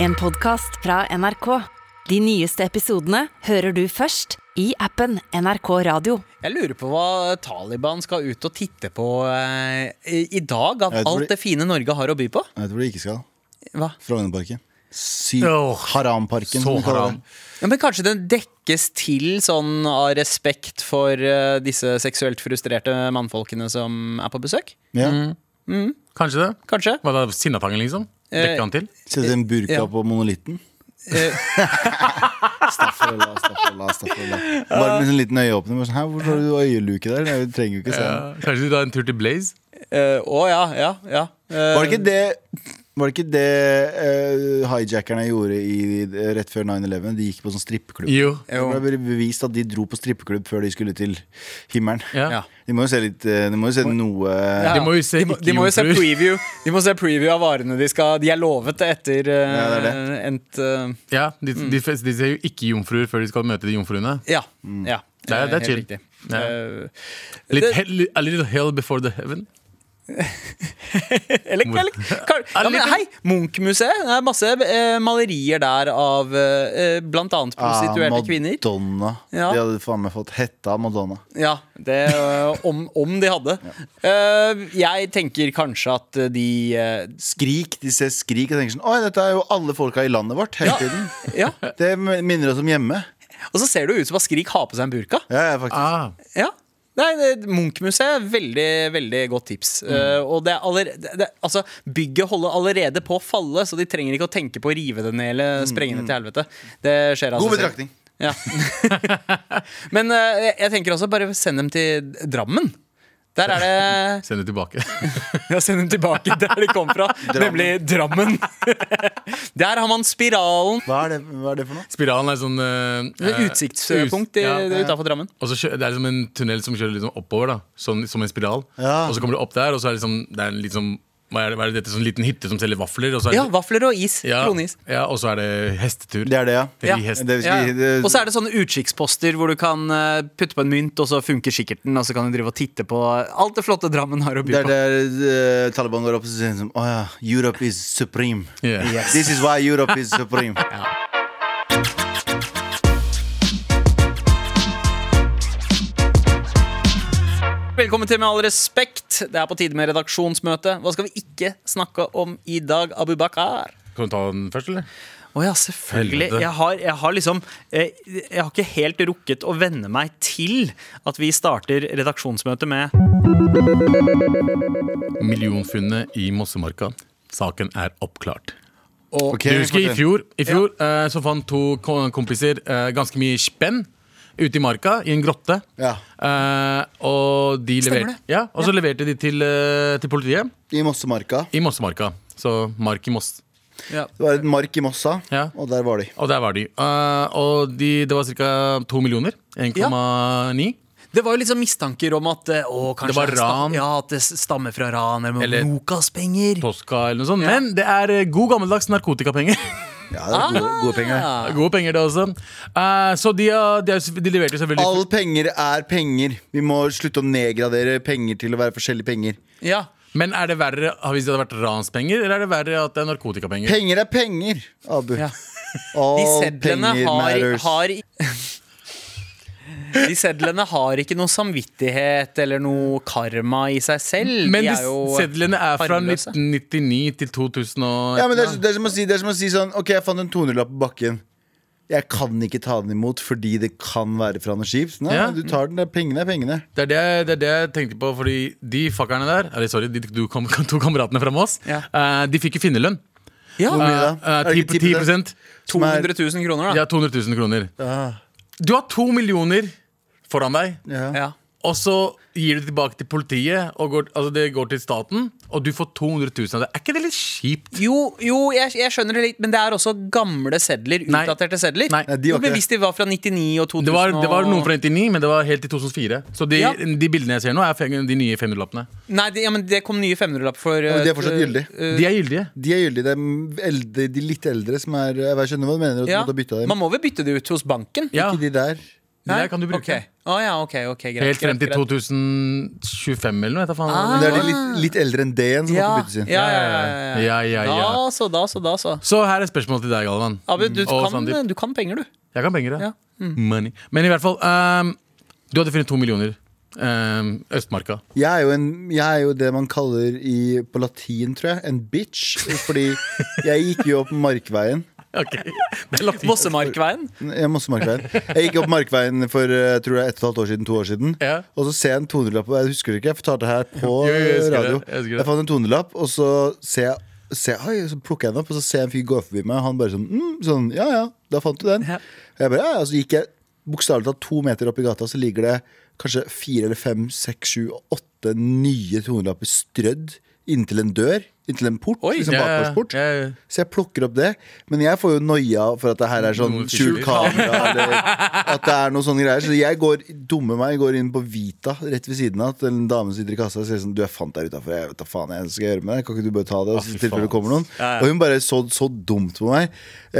En podcast fra NRK. De nyeste episodene hører du først i appen NRK Radio. Jeg lurer på hva Taliban skal ut og titte på eh, i i dag, av Jeg tror alt de- det fine Norge har å by på. Jeg vet hvor de ikke skal. Hva? Frognerparken. Sy Åh, Haramparken. som så de kaller haram. det. Ja, men kanskje den dekkes til sånn av respekt for eh, disse seksuelt frustrerte mannfolkene som er på besøk? Ja. Kanskje det? Kanskje? Var det Sinnatangen, liksom? Dekker han til? Sette en burka Ja. på monolitten. Eh, Staffela, staffela, staffela. Bare med en sånn liten øyeåpner. Bare sånn, Hæ, hvorfor har du øyeluke der? Nei, vi trenger jo ikke se den. Ja, kanskje du tar en tur til Blaze? eh, Å ja, ja, ja. Eh, Var det ikke det var det ikke det eh, hijackerne gjorde i, rett før 9-11? De gikk på sånn strippeklubb. Jo. Det ble bevist at de dro på strippeklubb før de skulle til himmelen. Ja. Ja. De må jo se litt eh, De må jo se noe Ja, De må jo se de må, de må jo se ikke-jomfruer. preview De må se preview av varene de skal De er lovet etter eh, Ja, det endt eh, ja de, de, fleste- de ser jo ikke jomfruer før de skal møte de jomfruene. Ja. ja Mm. Det er- det er helt chill. riktig. Ja. Eh, Litt, Det- hell, a little hell before the heaven. Eller, Hvor- eller kan, ja, men, litt- Hei, Munch-museet. Det er masse eh, malerier der av eh, blant annet Ah, prostituerte kvinner. Madonna. Ja. De hadde faen meg fått hetta av Madonna. Ja, det, eh, om, om de hadde. Eh, jeg tenker kanskje at de eh, Skrik. De ser skrik og tenker sånn Oi, dette er jo alle folka i landet vårt hele Ja. tiden. Ja, Det minner oss om hjemme. Og så ser det jo ut som at Skrik har på seg en burka. Ja, ja, faktisk. Ah, Ja. Nei, det- Munch-museet, veldig veldig godt tips. Eh, og det er aller, det, det, altså, Bygget holder allerede på å falle, så de trenger ikke å tenke på å rive det ned eller sprenge det til helvete. Det skjer av God seg selv. betraktning. Ja. Men eh, jeg tenker også bare send dem til Drammen. Der er det Send det tilbake. Ja, send dem tilbake der de kom fra, nemlig Drammen. Der har man spiralen. Hva er det, hva er det for noe? Spiralen er sånn eh, Det er eh, Utsiktspunkt us- ja. utafor Drammen. Og så kjø, Det er liksom en tunnel som kjører liksom oppover, da sånn, som en spiral. Ja. Og så kommer du opp der, og så er det liksom, det er en litt sånn- hva er, det, hva er det dette, sånn liten hytte som selger vafler? Og så er det, Ja, vafler og is. ja, Kronis. ja, og så er det hestetur. Det er det, ja. Ja. Ri hest. Det vi Ja. skal, det, Og så er det sånne utkikksposter hvor du kan eh, putte på en mynt, og så funker kikkerten, og så kan du drive og titte på alt det flotte Drammen har å by det på. er der eh, Taliban går opp og sier sånn Å ja, Europe is supreme. Ja. This is why Europe is supreme. Velkommen til Med all respekt. Det er på tide med redaksjonsmøte. Hva skal vi ikke snakke om i dag, Abubakar? Kan du ta den først, eller? Å ja, selvfølgelig. Helvete. Jeg har, jeg har liksom eh, Jeg har ikke helt rukket å venne meg til at vi starter redaksjonsmøtet med Millionfunnet i Mossemarka. Saken er oppklart. Ok, Du husker i fortell. fjor, i fjor eh, så fant to ko- kompiser eh, ganske mye spenn ute i marka, i en grotte. Ja. Eh, og de Stemmer leverte, det. ja, og så leverte de til, eh, til politiet I Mossemarka. i Mossemarka. Så Mark i Moss. Det var et mark i Mossa, Ja. og der var de. Og der var de. Eh, og de, det var ca. to millioner. 1,9. Det var jo liksom mistanker om at eh, å, kanskje Det var sta- ran. Ja, at det stammer fra ran eller, Eller- eller Nokas-penger. Tosca eller noe sånt. Men det er eh, god gammeldags narkotikapenger. Ja, det var gode, gode penger. det. Gode penger, det også. Eh, så de, har- de, har- de leverte selvfølgelig All penger er penger. Vi må slutte å nedgradere penger til å være forskjellige penger. Ja. Men er det verre hvis det hadde vært ranspenger, eller er det verre at det er narkotikapenger? Penger er penger, Abu. Ja. All De sedlene penger har, matters. har De sedlene har ikke noe samvittighet eller noe karma i seg selv. Men de de er jo sedlene er fra harmløse. 1999 til 2000 og Ja, men det er, det, er som å si, det er som å si sånn Ok, jeg fant en 200-lapp på bakken. Jeg kan ikke ta den imot fordi det kan være fra noe skip. Nei, Ja. du tar den. Det er pengene er pengene. Det er det, det er det jeg tenkte på, fordi de fuckerne der Eller sorry, de to, kam to kameratene fra Moss, Ja. eh, de fikk jo finnerlønn. Ja, Hvor mye da? Eh, eh, Er det ikke 10, 10 som er- 200 000 kroner, De da. har 200 000 kroner. Du har to millioner foran deg, Ja. Ja. og så gir du det tilbake til politiet, og går, altså det går til staten, og du får 200 000 av det. Er ikke det litt kjipt? Jo, jo jeg, jeg skjønner det litt, men det er også gamle sedler. Nei. Utdaterte sedler. Nei. Nei, de var ikke Hvis de var fra 99 og 2000 Det var, det var noen og- fra 99, men det var helt til 2004. Så de, Ja. de bildene jeg ser nå, er fem- de nye 500-lappene. Nei, det, ja, men det kom nye 500-lapper for men de er eh, fortsatt gyldig. eh, De er gyldige. De er gyldige. Det er eldre, de litt eldre som er Jeg skjønner hva du mener. At ja. du måtte bytte dem. Man må vel bytte det ut hos banken? Ja. Ikke de der. De der kan du bruke. Ok. Å ja, ok, ok, greit. Helt frem til greit, greit. 2025 eller noe. vet jeg faen. Men det er de litt, litt eldre enn det igjen som Ah. Ja, måtte byttes inn. ja, ja, ja, ja. Ja, ja, ja. Da så, da så, da så. Så her er spørsmålet til deg, Galvan. Abu, du, Og kan, Sandeep. du kan penger, du. Jeg kan penger, Ah. Ja. ja. Money. Men i hvert fall, ehm, du hadde funnet to millioner. ehm, Østmarka. Jeg er, jo en, jeg er jo det man kaller i, på latin, tror jeg, en bitch. Fordi jeg gikk jo opp Markveien. Ok, det er latin. Vossemarkveien. Jeg, masse markveien. jeg gikk opp Markveien for eh, jeg tror det er ett og et halvt år siden, to år siden. Ja. Og så ser jeg en 200-lapp, og jeg husker det ikke, jeg fortalte det her på Jo, jo, jeg husker det, radio. jeg husker det. Jeg fant en 200-lapp, og så ser jeg ser jeg- oi, så plukker jeg den opp, og så ser jeg en fyr gå forbi meg, og han bare sånn, mm, sånn Ja ja, da fant du den. Ja. Og jeg bare, ja, ja, så gikk jeg bokstavelig talt to meter opp i gata, så ligger det kanskje fire eller fem, seks, sju, åtte nye 200-lapper strødd inntil en dør. Inntil en port. Oi, liksom Ja, ja, bakgårdsport. ja, ja. Så jeg plukker opp det, men jeg får jo noia for at det her er sånn Noen skjult fischer. kamera, eller at det er noen sånne greier. Så jeg går, dumme meg, går inn på Vita rett ved siden av til en dame som sitter i kassa og sier sånn Du, jeg fant deg utafor, jeg vet da faen jeg skal gjøre med det, kan ikke du bare ta det? Og Å, så Ah, fy i tilfelle det faen. kommer noen. Og hun bare så så dumt på meg.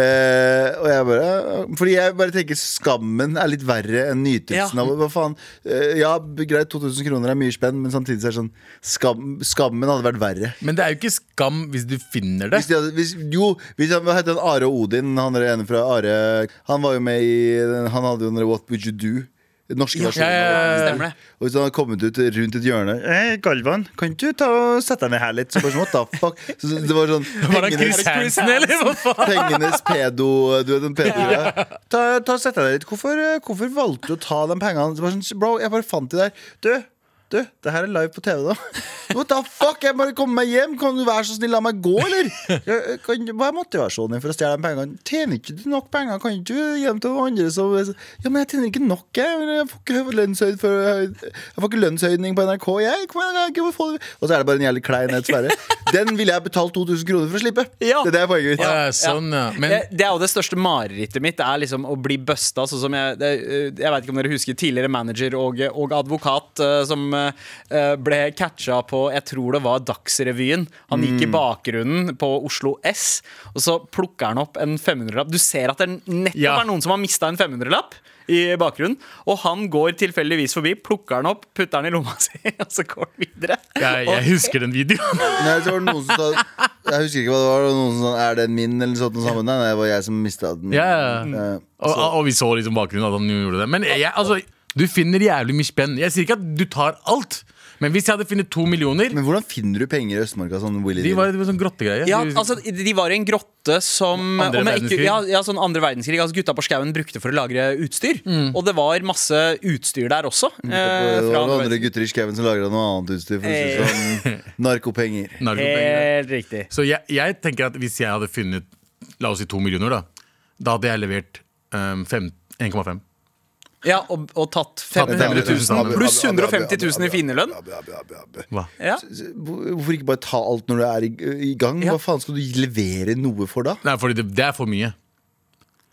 Eh, og jeg bare Fordi jeg bare tenker skammen er litt verre enn nytelsen Ja. av hva faen. Eh, ja, greit, 2000 kroner er mye spenn, men samtidig så er det sånn skam, Skammen hadde vært verre. Men det er jo ikke skam hvis du finner det. Hvis de hadde, hvis, jo, hvis han, hva heter han Are Odin, han er ene fra Are Han var jo med i den- Han hadde jo den der What Would You Do? Den norske Ja, versjonen. ja, ja. Stemmer det. Og hvis han hadde kommet ut rundt et hjørne eh, Galvan, kan du ta og sette deg ned her litt? Så bare sånn, what the fuck? Så, så det var sånn Var det Chris pengenes, Hansen, eller hva faen? pengenes pedo Du vet den pedo ja. Ta, ta og sett deg ned litt. Hvorfor, eh, hvorfor valgte du å ta de pengene? Så bare sånn, Bro, jeg bare fant de der. Du, du, det her er live på TV, da. What the fuck? Jeg bare kommer meg hjem. Kan du være så snill, la meg gå, eller? Jeg- Kan, hva er motivasjonen din for å stjele de pengene? Tjener ikke du nok penger? Kan ikke du gi dem til noen andre som Ja, men jeg tjener ikke nok, jeg. Jeg får ikke lønnshøyd for Jeg får ikke lønnshøydning på NRK, jeg. Kom igjen, jeg kan ikke få det. Og så er det bare en jævlig klein en, Sverre. Den ville jeg betalt 2000 kroner for å slippe. Ja. Det er det er poenget mitt. Ja, sånn, ja. Men det, det er jo det største marerittet mitt. Det er liksom å bli busta. Sånn som jeg det, Jeg vet ikke om dere husker tidligere manager og, og advokat eh, som eh, ble catcha på Jeg tror det var Dagsrevyen. Han gikk Mm. i bakgrunnen på Oslo S, og så plukker han opp en 500-lapp. Du ser at det nettopp Ja. er noen som har mista en 500-lapp. I bakgrunnen Og han går tilfeldigvis forbi, plukker den opp, putter den i lomma si, og så går han videre. jeg, jeg husker den videoen. Nei, så var det noen som sa Jeg husker ikke hva det var. Det var noen som sa, Er den min? Eller sånt noe sammen. Nei, nei, det var jeg som mista den. Ja, ja. Eh, Og, og vi så liksom bakgrunnen at han gjorde det. Men jeg, altså, du finner jævlig mye spenn. Jeg sier ikke at du tar alt, men hvis jeg hadde funnet to millioner Men hvordan finner du penger i Østmarka? Sånn willy De nilly? var, det var sånn grottegreie. Ja, De- altså, de var i en grotte som Andre om jeg ikke- verdenskrig. Ja, ja, sånn andre verdenskrig. Altså, gutta på skauen brukte for å lagre utstyr. Mm. Og det var masse utstyr der også. eh, Mm. Det fra var noen andre andre verdenskrig. gutter i skauen som lagra noe annet utstyr. For å si det sånn Narkopenger. eh, narkopenger. Helt riktig. Så jeg, jeg tenker at hvis jeg hadde funnet La oss si to millioner, da. Da hadde jeg levert um, fem- 1,5. Ja, og, og tatt 500 500 000 000 sammen. pluss Abu, Abu, Abu, 150 000 i Abu, Abu, finnerlønn. Abu, Abu, Abu, Abu. Hva? Ja. Hvorfor ikke bare ta alt når du er i, i gang? Ja. Hva faen skal du levere noe for da? Nei, fordi det, det er for mye.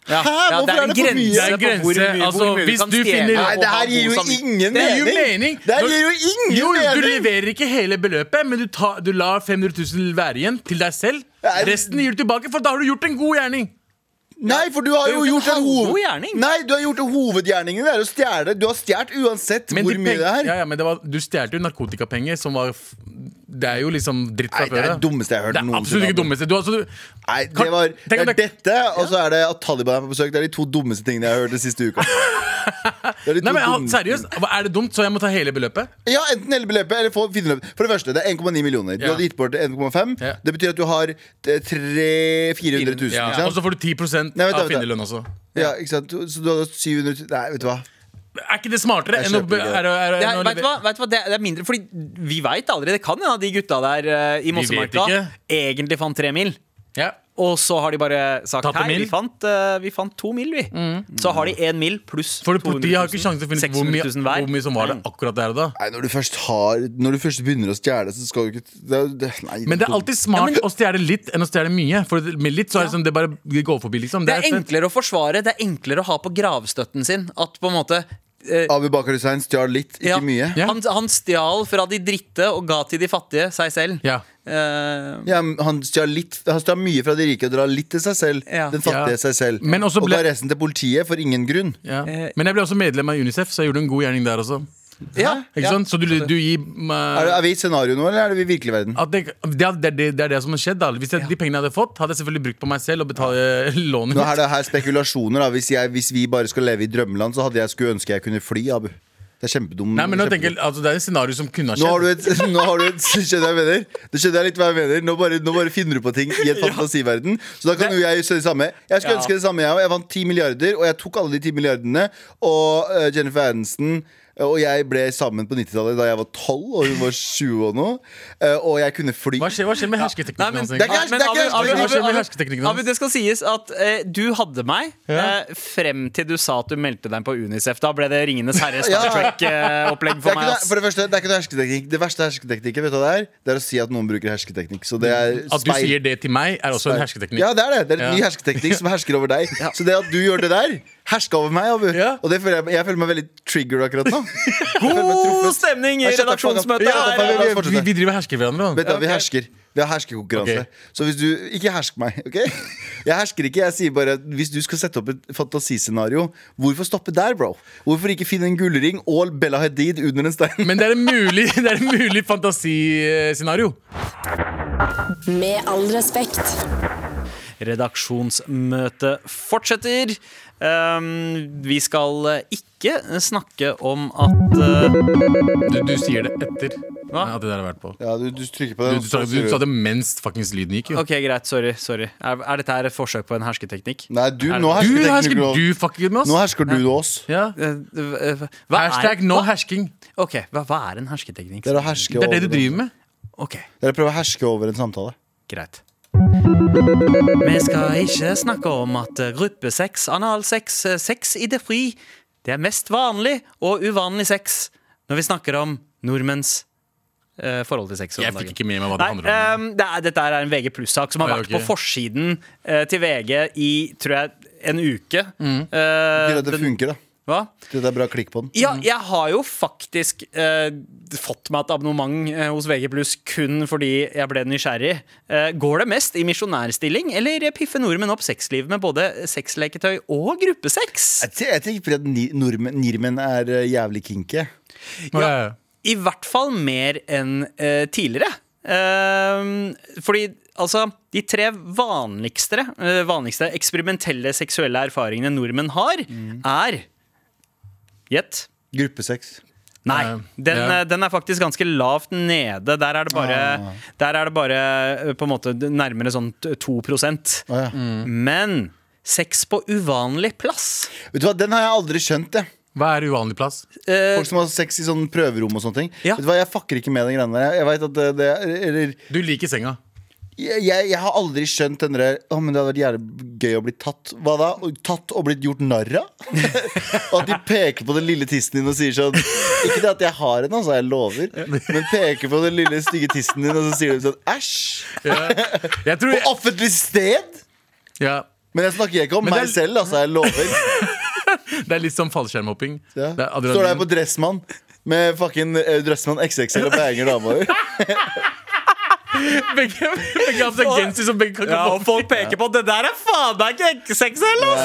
Ja. Hæ? Ja, Hvorfor er det for mye? Det er en på hvor grense. mye- hvor Altså, mye hvis kan du stjele finner- og Nei, det ha her god gir jo samvittighet. ingen Det gir jo mening! mening. Det her gir jo ingen Jo, jo, du mening! leverer ikke hele beløpet, men du, tar, du lar 500 000 være igjen til deg selv. Nei. Resten gir du tilbake, for da har du gjort en god gjerning. Nei, for du har Du jo har gjort gjort en en halvgod hoved... gjerning. Nei, du har gjort en hovedgjerning. Det er å stjele. Du har stjålet uansett Men hvor de mye peng- det er. Ja, ja, men det var, du stjal jo narkotikapenger, som var f Det er jo liksom dritt fra Nei, det før. er ja. det dummeste jeg har hørt Det er absolutt noensinne. ikke dummeste. Du, altså, du, Nei, det Kan- var det Tenk om er det- dette, og så er det at Taliban er på besøk. Det er de to dummeste tingene jeg har hørt den siste uka. Det er de to nei, men ha- dummeste- Seriøst, hva- er det dumt? Så jeg må ta hele beløpet? Ja, enten hele beløpet eller få finne beløpet. For det første, det er 1,9 millioner. Du Ja. hadde gitt bort 1,5. Ja. Det betyr at du har eh, 300 400 000. Ikke Ja. Og så sant? får du 10 Nei, vent da, av vent da. finnerlønn også. Ja, ikke sant? Så du hadde 700 000 Nei, vet du hva. Er ikke det smartere Jeg enn å kjøper be- ikke det. er, er, er, Det, enn er, å vet du leve- hva, vet du hva det, det er mindre Fordi vi veit aldri. Det kan hende at de gutta der eh, i Mossemarka ikke. egentlig fant tre mil. Ja. Og så har de bare sagt Tatt en Hei, vi mil?» Mm. fant, eh, vi fant to mil, vi. Så har de én mil pluss For politiet har ikke 200 000, sjanse til å finne ut hvor, 600 mye- 000 hver. Mm. hvor mye som var det akkurat der og da. Nei, når du først har Når du først begynner å stjele, så skal du ikke det, er- det, Nei. Men det er alltid smart å stjele litt enn å stjele mye. For det- med litt så er det sånn, det bare det går forbi, liksom. Det er fett. enklere å forsvare, det er enklere å ha på gravstøtten sin. At på en måte eh, Abu Bakar Hussein stjal litt, ikke ja, mye. Ja. Han, han stjal fra de dritte og ga til de fattige seg selv. Ja. Eh, Ja, men han stjal litt Han stjal mye fra de rike og drar litt til seg selv. Ja. Den fattige Ja. seg selv. Men også Og ble- da resten til politiet for ingen grunn. Ja. Eh, Men jeg ble også medlem av Unicef, så jeg gjorde en god gjerning der også. ja, Ikke ja. sant? Så du, du gir eh, Er, det, er vi i scenario nå, eller er det i virkelig verden? at det, det, er- det, er det, det er det som har skjedd. Da. Hvis jeg, de pengene jeg hadde fått, hadde jeg selvfølgelig brukt på meg selv og betale lånet Nå mitt. er det her spekulasjoner da hvis, jeg, hvis vi bare skal leve i drømmeland, så hadde jeg skulle ønske jeg kunne fly, Abu. Det er kjempedum. Nei, men nå kjempedum. tenker jeg, altså, Det er et scenario som kunne ha Nå har du skjedd. et, nå har du et Skjønner jeg hva jeg mener? Du skjønner jeg litt hva jeg mener Nå bare, nå bare finner du på ting i et fantasiverden Så da kan jo jeg gjøre det samme Jeg skulle Ja. ønske det samme jeg også. Jeg vant 10 milliarder Og jeg tok alle de 10 milliardene Og eh, Jennifer Aniston eh, og jeg ble sammen på 90-tallet da jeg var 12 Og hun var 20 og nå Eh, Og jeg kunne fly Hva skjer, hva skjer med Nei, hersketeknikken men, altså? hans? Det er egentlig? ikke- det er Abu, ikke- Abu, Hva skjer med Abu, hersketeknikken Abu, hans? Abu, det skal sies at eh, du hadde meg eh, frem til du sa at du meldte deg på Unicef. Da ble det Ringenes herre Star Ja. Trek-opplegg det er for ikke meg. noe, ass. for det første, det er ikke noe hersketeknikk Det verste hersketeknikken, vet du hva det er? Det er å si at noen bruker hersketeknikk Så det er At du speil- sier det til meg, er også Altså en hersketeknikk. Ja, det er det. Det er en Ja. ny hersketeknikk som hersker over deg. Så det at du gjør det der, herska over meg, Abu. Ja. Og det føler jeg, jeg føler meg veldig triggered akkurat nå. God stemning i Jeg skjønner at folk- redaksjonsmøtet! Ja, her. ja, ja. vi, vi, vi driver og hersker hverandre. Vet da. du, hva, Vi hersker. Vi har herskekonkurranse. Ok. Så hvis du Ikke hersk meg, OK? Jeg hersker ikke. Jeg sier bare at hvis du skal sette opp et fantasiscenario, hvorfor stoppe der, bro? Hvorfor ikke finne en gullring og Bella Hadid under en stein? Men det er en mulig, det er en mulig fantasiscenario. Med all respekt. Redaksjonsmøtet fortsetter. Um, vi skal eh, ikke snakke om at eh, Du, du sier det etter Hva? at det der har vært på. Ja, du, du trykker på Du, den. du, sa, du sa det mens fuckings lyden gikk, jo. OK, greit. Sorry. sorry. Er, er dette her et forsøk på en hersketeknikk? Nei, du, nå Du hersker hersker, teknikk, du fucker med bro. Nå oss. hersker du oss. Ja. Eh, eh, hva- Hva Hashtag er, no hva, hersking. ok, hva, hva er en hersketeknikk? Det er å herske Det er det du over driver med. Ok, Det er å prøve å herske over en samtale. greit. Vi skal ikke snakke om at eh, gruppesex, analsex, eh, sex i det fri, det er mest vanlig og uvanlig sex når vi snakker om nordmenns eh, forhold til sex. om Jeg dagen. fikk ikke med meg hva det Nei, handler om. ehm, det er, dette her er en VG pluss-sak som har Ah, ja, vært ok. på forsiden eh, til VG i tror jeg, en uke. Mm. Det, Eh, at det den- funker, da. hva? Det er bra klikk på den. Ja, jeg har jo faktisk eh, fått meg et abonnement eh, hos VG pluss kun fordi jeg ble nysgjerrig. Eh, går det mest i misjonærstilling, eller piffer nordmenn opp sexliv med både sexleketøy og gruppesex? Jeg t- Jeg tenker på at ni- nordmenn nirmenn er eh, jævlig kinky. Ja. I hvert fall mer enn eh, tidligere. Ehm, fordi altså De tre vanligste, eh, vanligste eksperimentelle seksuelle erfaringene nordmenn har, er Gjett. Gruppesex. Nei. Nei, Den, ja. Ah. eh, den er faktisk ganske lavt nede. Der er det bare, der er det bare eh, på en måte nærmere sånn t- 2 Å, ja. Mm. Mm. Men sex på uvanlig plass Vet du hva, Den har jeg aldri skjønt. Jeg. Hva er uvanlig plass? eh, Folk som har sex i sånn prøverom og sånne ting. Ja. Vet du hva, Jeg fucker ikke med den greiene der. Jeg, jeg vet at det, det er- eller, Du liker senga. jeg, jeg, jeg har aldri skjønt den der Å, men det hadde vært jævlig gøy å bli tatt. Hva da? Og Tatt og blitt gjort narr av? Og at de peker på den lille tissen din og sier sånn Ikke det at jeg har en, altså, jeg lover, men peker på den lille stygge tissen din, og så sier de sånn æsj! Jeg tror På offentlig sted! ja, Men jeg snakker ikke om Men det er- meg selv, altså, jeg lover. Det er litt som fallskjermhopping. Ja. Det er adrenalin. Står der på Dressmann med fucking eh, Dressmann XXL og banger dama over. Begge begge har på seg genser som begge kan ja, og folk peker på Det der er faen meg ikke XXL, ass!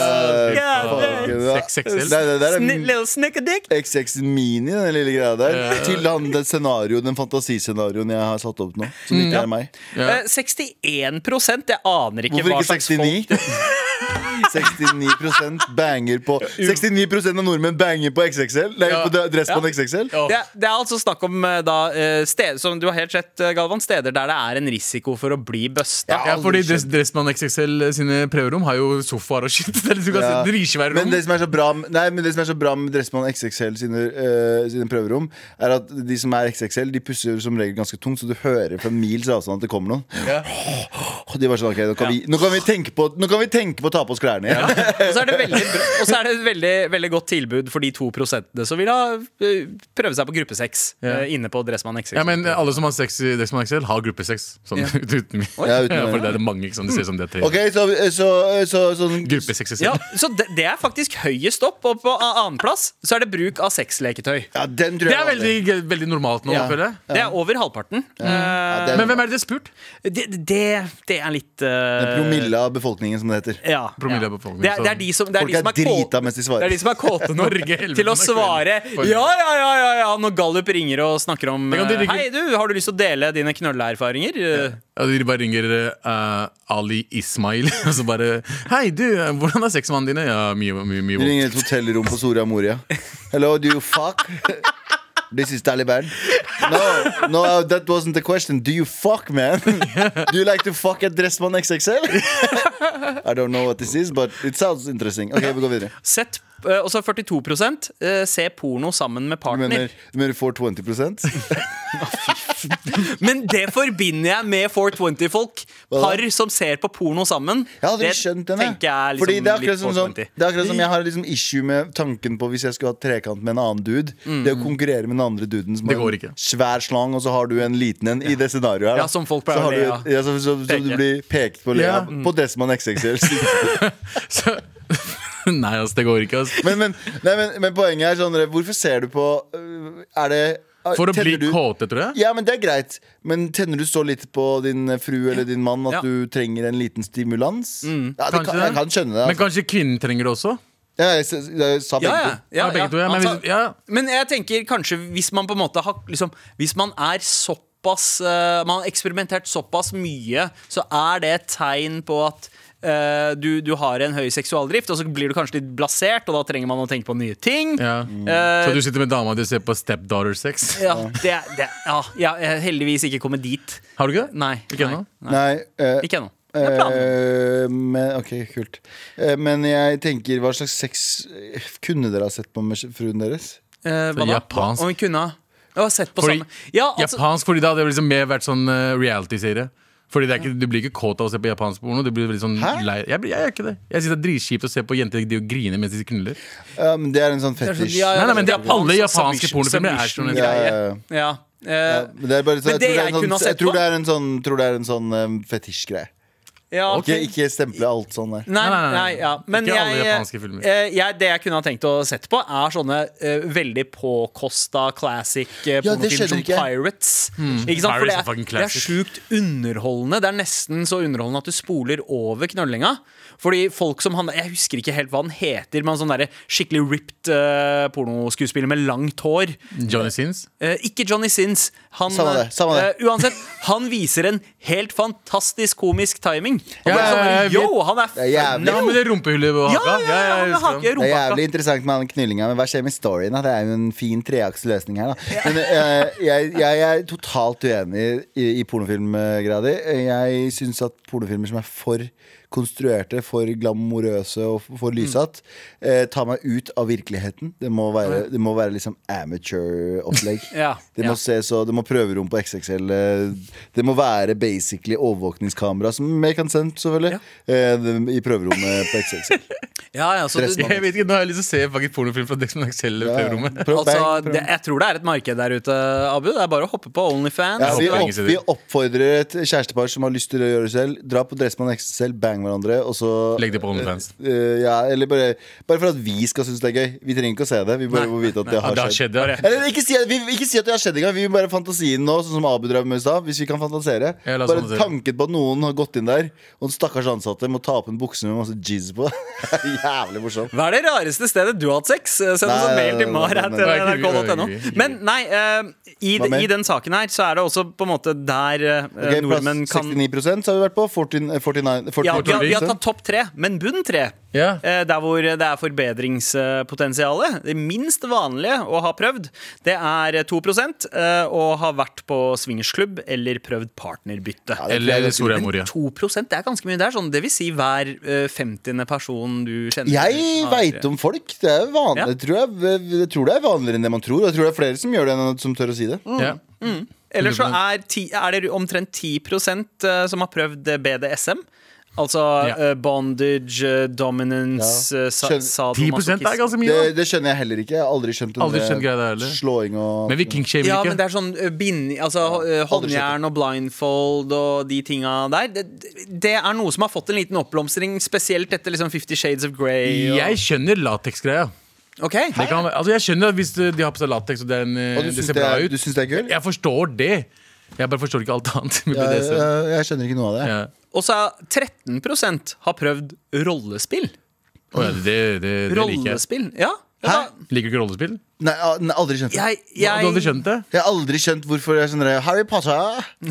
God Fucking, ja. XXL. Nei, det damn. der er Sni- Little snickedick. XX Mini, den lille greia der. Til han, den scenario, den fantasiscenarioen jeg har satt opp nå. Som ikke er meg. Mm. Ja. Eh, 61 Jeg aner ikke Hvorfor hva ikke slags folk 69? 69 banger på 69 av nordmenn banger på XXL. Nei, Ja. på Dressmann Ja. XXL. Ja. det, er- det er altså snakk om eh, da, eh, sted, som du har helt sett, eh, Galvan, steder der det er en risiko for å bli busta. Ja, fordi Aldri dress, Dressmann XXL eh, sine prøverom har jo sofaer og shit. Det er litt så Ja. godt. Det viser hver Men rom. det som er så bra med- Nei, men det som er så bra med Dressmann XXL sine, eh, sine prøverom, er at de som er XXL, de pusser som regel ganske tungt, så du hører fra mils avstand at det kommer noen. Og de var sånn, ok, nå kan, vi, nå, kan vi tenke på, nå kan vi tenke på å ta på oss klærne igjen. Og så er det, veldig, bra- og så er det et veldig, veldig godt tilbud for de to prosentene som vil ha, eh, prøve seg på gruppesex Ja. eh, inne på Dressmann XX. Ja, men alle som har sex i Dexman XL, har gruppesex. Sånn, uten mye. Ja, uten meg. for det er det mange. ikke sant? Det ser ut som det er tre. Ok, så, så, så, sånn Gruppesex i Ja, selv. så det, det er faktisk høyest opp, og på a- annenplass så er det bruk av sexleketøy. Ja, den tror Det jeg er var veldig, veldig normalt nå, Ja. føler jeg. Det er over halvparten. Ja, Men den, hvem er det dere har spurt? Eh, Det, det, det er litt eh, Promille av befolkningen, som det heter. Ja, Promille ja. av befolkningen, Det er, det er de som, det er Folk de som er er kå- drita mens de svarer. Det er de som er kåte nok Norge, helvete, til å nok svare kvelden. ja, ja, ja, ja, ja når Gallup ringer og snakker om Det kan de eh, ringe- Hei, du, har du lyst til å dele dine knølleerfaringer? Eh, Ja, de bare ringer eh, Ali Ismail og så bare Hei, du, eh, hvordan er sexmannen dine? Ja, mye, mye, mye Du vondt. ringer et hotellrom på Soria Moria. Hello, do you fuck? This is Taliban. No, no, that wasn't the question. Do you fuck, man? Do you like to fuck at Dressmann XXL? I don't know what this is, but it sounds interesting. Ok, vi går videre. Sett eh, også 42 eh, se porno sammen med Du mener, partner. du mener 420 Men det forbinder jeg med 420-folk. Hva da? Par som ser på porno sammen. Jeg hadde det ikke skjønt den. jeg. tenker jeg er liksom Fordi det er, akkurat litt som sånn, 420. det er akkurat som jeg har liksom issue med tanken på hvis jeg skulle hatt trekant med en annen dude. Mm. Det å konkurrere med den andre duden som Det har går en ikke. svær slang, og så har du en liten en i det scenarioet. her, da. Ja, som folk pleier så å har du, le av. Mm. ja, så, så, så, du Peke. blir pekt på å le Ja. av på Desman XXL. Så, nei, ass, det går ikke, ass. men, men, nei, men, men poenget er sånn Hvorfor ser du på øh, Er det For å tenner bli du- kåte, tror jeg. Ja, men det er greit. Men tenner du så litt på din frue eller din mann at Ja. Mm. du trenger en liten stimulans? ja, det Kanskje kan, det. jeg kan skjønne det. Men Altså. kanskje kvinnen trenger det også? Ja, jeg, s- jeg sa begge Ja, ja, to. ja, Ja, begge to, ja, men Altså, hvis- ja. men jeg tenker kanskje hvis man på en måte har liksom, Hvis man er såpass eh, Man har eksperimentert såpass mye, så er det et tegn på at eh, du, du har en høy seksualdrift, og så blir du kanskje litt blasert, og da trenger man å tenke på nye ting. Ja. Mm. Eh, Så du sitter med dama di og ser på Stepdaughter Sex? Eh, ja, det, det, ja, jeg er heldigvis ikke kommet dit. Har du ikke det? Nei. Ikke nei, ennå? nei. Nei, eh, Ikke ennå. Det er planen. eh, men, ok, kult. Eh, men jeg tenker, hva slags sex eh, kunne dere ha sett på med fruen deres? Eh, hva da? japansk. Om hun kunne ha Jeg har sett på Fordi- samme ja, altså, Japansk, fordi da hadde det liksom mer vært sånn eh, reality-serie. Fordi det er ikke, Du blir ikke kåt av å se på japansk porno. Du blir veldig sånn Hæ? lei Jeg, blir, jeg er ikke det Jeg synes det er dritkjipt å se på jenter de griner mens de knuller. Ja, men det er en sånn Det er sånn- fetisj. ja, ja, Nei, nei, men det er alle Japansk altså, japanske submission- pornofilmer er sånn. ja, ja, submission-greie. ja. Ja. Ja, eh, men det er bare så, Men jeg, tror det det er jeg kunne en ha sånn, jeg sett tror på- det er en sånn, tror det er en sånn eh, fetisjgreie. ja, Ikke, ikke stemple alt sånn der. Nei, Nei, nei, nei, nei. ja. Men Ikke alle jeg, japanske filmer. eh, jeg, det jeg kunne ha tenkt å sett på, er sånne eh, veldig påkosta classic eh, Ja, det pornofilmer som skjønner ikke jeg. Hmm. Pirates. Ikke sant? Pirates For det er er, fucking det er classic. sjukt underholdende. Det er nesten så underholdende at du spoler over knøllinga. Fordi folk som han Jeg husker ikke helt hva han heter, men han sånn derre skikkelig ripped eh, pornoskuespiller med langt hår. Johnny Sins. Eh, ikke Johnny Sins. Han, Samme det, samme det. eh, uansett, han viser en helt fantastisk komisk timing. Han Ja, bare sånn, ja, ja, jeg Yo, han er Det er jævlig. Ja, med det rumpehullet ved ja, haka. ja, ja, jeg han har husker han. ikke Det er rumpehaka. jævlig interessant med den knullinga, men hva skjer med storyen? da? Det er jo en fin treaksløsning her, da. Men eh, jeg, jeg er totalt uenig i, i pornofilmgreia di. Jeg syns at pornofilmer som er for konstruerte, for glamorøse og for lysete, eh, tar meg ut av virkeligheten. Det må være, det må være liksom amateur-opplegg. Ja, Det ja. må se så, det må prøverom på XXL. eh, Det må være basically overvåkningskamera, som make and sense, selvfølgelig, eh, i prøverommet på XXL. Ja, altså, ja, så du, Stressmann. Jeg vet ikke, Nå har jeg lyst til å se faktisk pornofilm fra Dexman Axel. Ja, ja. prøverommet. Prøv- altså, bang, prøv. det, jeg tror det er et marked der ute, Abu. Det er bare å hoppe på Onlyfans. Ja, vi, håper opp, ingen sier vi det. oppfordrer et kjærestepar som har lyst til å gjøre det selv. Dra på Dressmann XXL, bang hverandre, og så Legg det på OnlyFans. Eh, ja, eller bare, bare for at vi skal synes det er gøy. Vi trenger ikke å se det. Vi bare må vite at det Ja, har det har skjedd. skjedd, ja. Eller ikke si, at- vi, ikke si at det har skjedd engang. Vi vil bare fantasien nå, sånn som Abu drev med i stad. Hvis vi kan fantasere. Ja, la oss bare fantasere. tanken på at noen har gått inn der, og den stakkars ansatte må ta opp en bukse med masse jizz på. Jævlig morsomt. Hva er det rareste stedet du har hatt sex? Eh, Send oss en Nei, mail til eh, nei, nei, nei, nei, nei. mar.nrk.no. Men nei, eh, i, Hva mer? i den saken her så er det også på en måte der eh, Ok, plass nordmenn kan 69 har vi vært på. 14, eh, 49, 49 ja, vi, har, vi har tatt topp tre, men bunn tre. Ja. Eh, Der hvor det er forbedringspotensialet. Det minst vanlige å ha prøvd, det er 2 eh, å ha vært på swingersklubb eller prøvd partnerbytte. Ja, det tror jeg er Eller ganske Soria fint. Moria. 2 det er ganske mye. Det er sånn, det vil si hver eh, 50. person du kjenner. Jeg har- veit om folk. Det er vanlig, Ja. Mm, tror jeg, jeg tror det er vanligere enn det man tror. Og jeg tror det er flere som gjør det enn som tør å si det. Ja. Eller så er, ti, er det omtrent 10 eh, som har prøvd eh, BDSM. Altså Ja. eh, bondage, eh, dominance, Ja. eh, sa- Skjønner- 10 sadomasochisme. er ganske mye. Det, da. det skjønner jeg heller ikke. Jeg har aldri skjønt, den Aldri der skjønt greia der heller. slåing og Men vi kingshamer Ja, ikke. men det er sånn eh, bind, altså, eh, aldri håndjern og blindfold og de tinga der. Det, det er noe som har fått en liten oppblomstring, spesielt etter liksom Fifty Shades of Grey. Og... Jeg skjønner lateksgreia. Ok. Det kan være- Altså, jeg skjønner at hvis eh, de har på seg lateks og det, er en, eh, Og du det syns ser det, bra er- ut du syns det er kult? Jeg forstår det. Jeg bare forstår ikke alt annet med Jeg, BDSM. jeg, jeg skjønner ikke noe av det. Ja. Og så er 13 har prøvd rollespill. Å ja, det, det, det, det liker jeg. Rollespill, ja. Hæ? ja Liker du ikke rollespill? Nei, a- nei, aldri skjønt det. Jeg, Du har aldri jeg, skjønt det? Jeg har aldri skjønt hvorfor jeg er sånn der, Harry Potter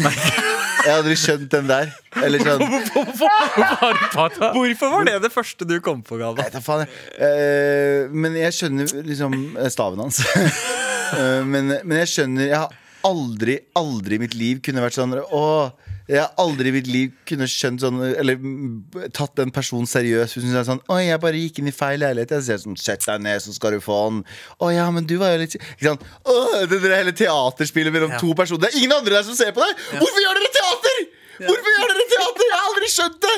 Jeg har aldri skjønt den der. Eller sånn Nei, Hvorfor har du tatt det? hvorfor var det det første du kom på, Galva? ta faen. jeg. Eh, men jeg skjønner liksom eh, staven hans. Eh, men, men jeg skjønner Jeg har aldri, aldri i mitt liv kunne vært sånn Å, jeg har aldri i mitt liv kunne skjønt sånn Eller mm, tatt en person seriøst. Hvis hun sier sånn Å, jeg bare gikk inn i feil leilighet. Jeg ser sånn Sett deg ned, så skal du få den. Å ja, men du var jo litt Ikke sant. Å, det der hele teaterspillet mellom to personer. Det er ingen andre der som ser på deg! Hvorfor gjør dere teater?! Hvorfor gjør dere teater?! Jeg har aldri skjønt det!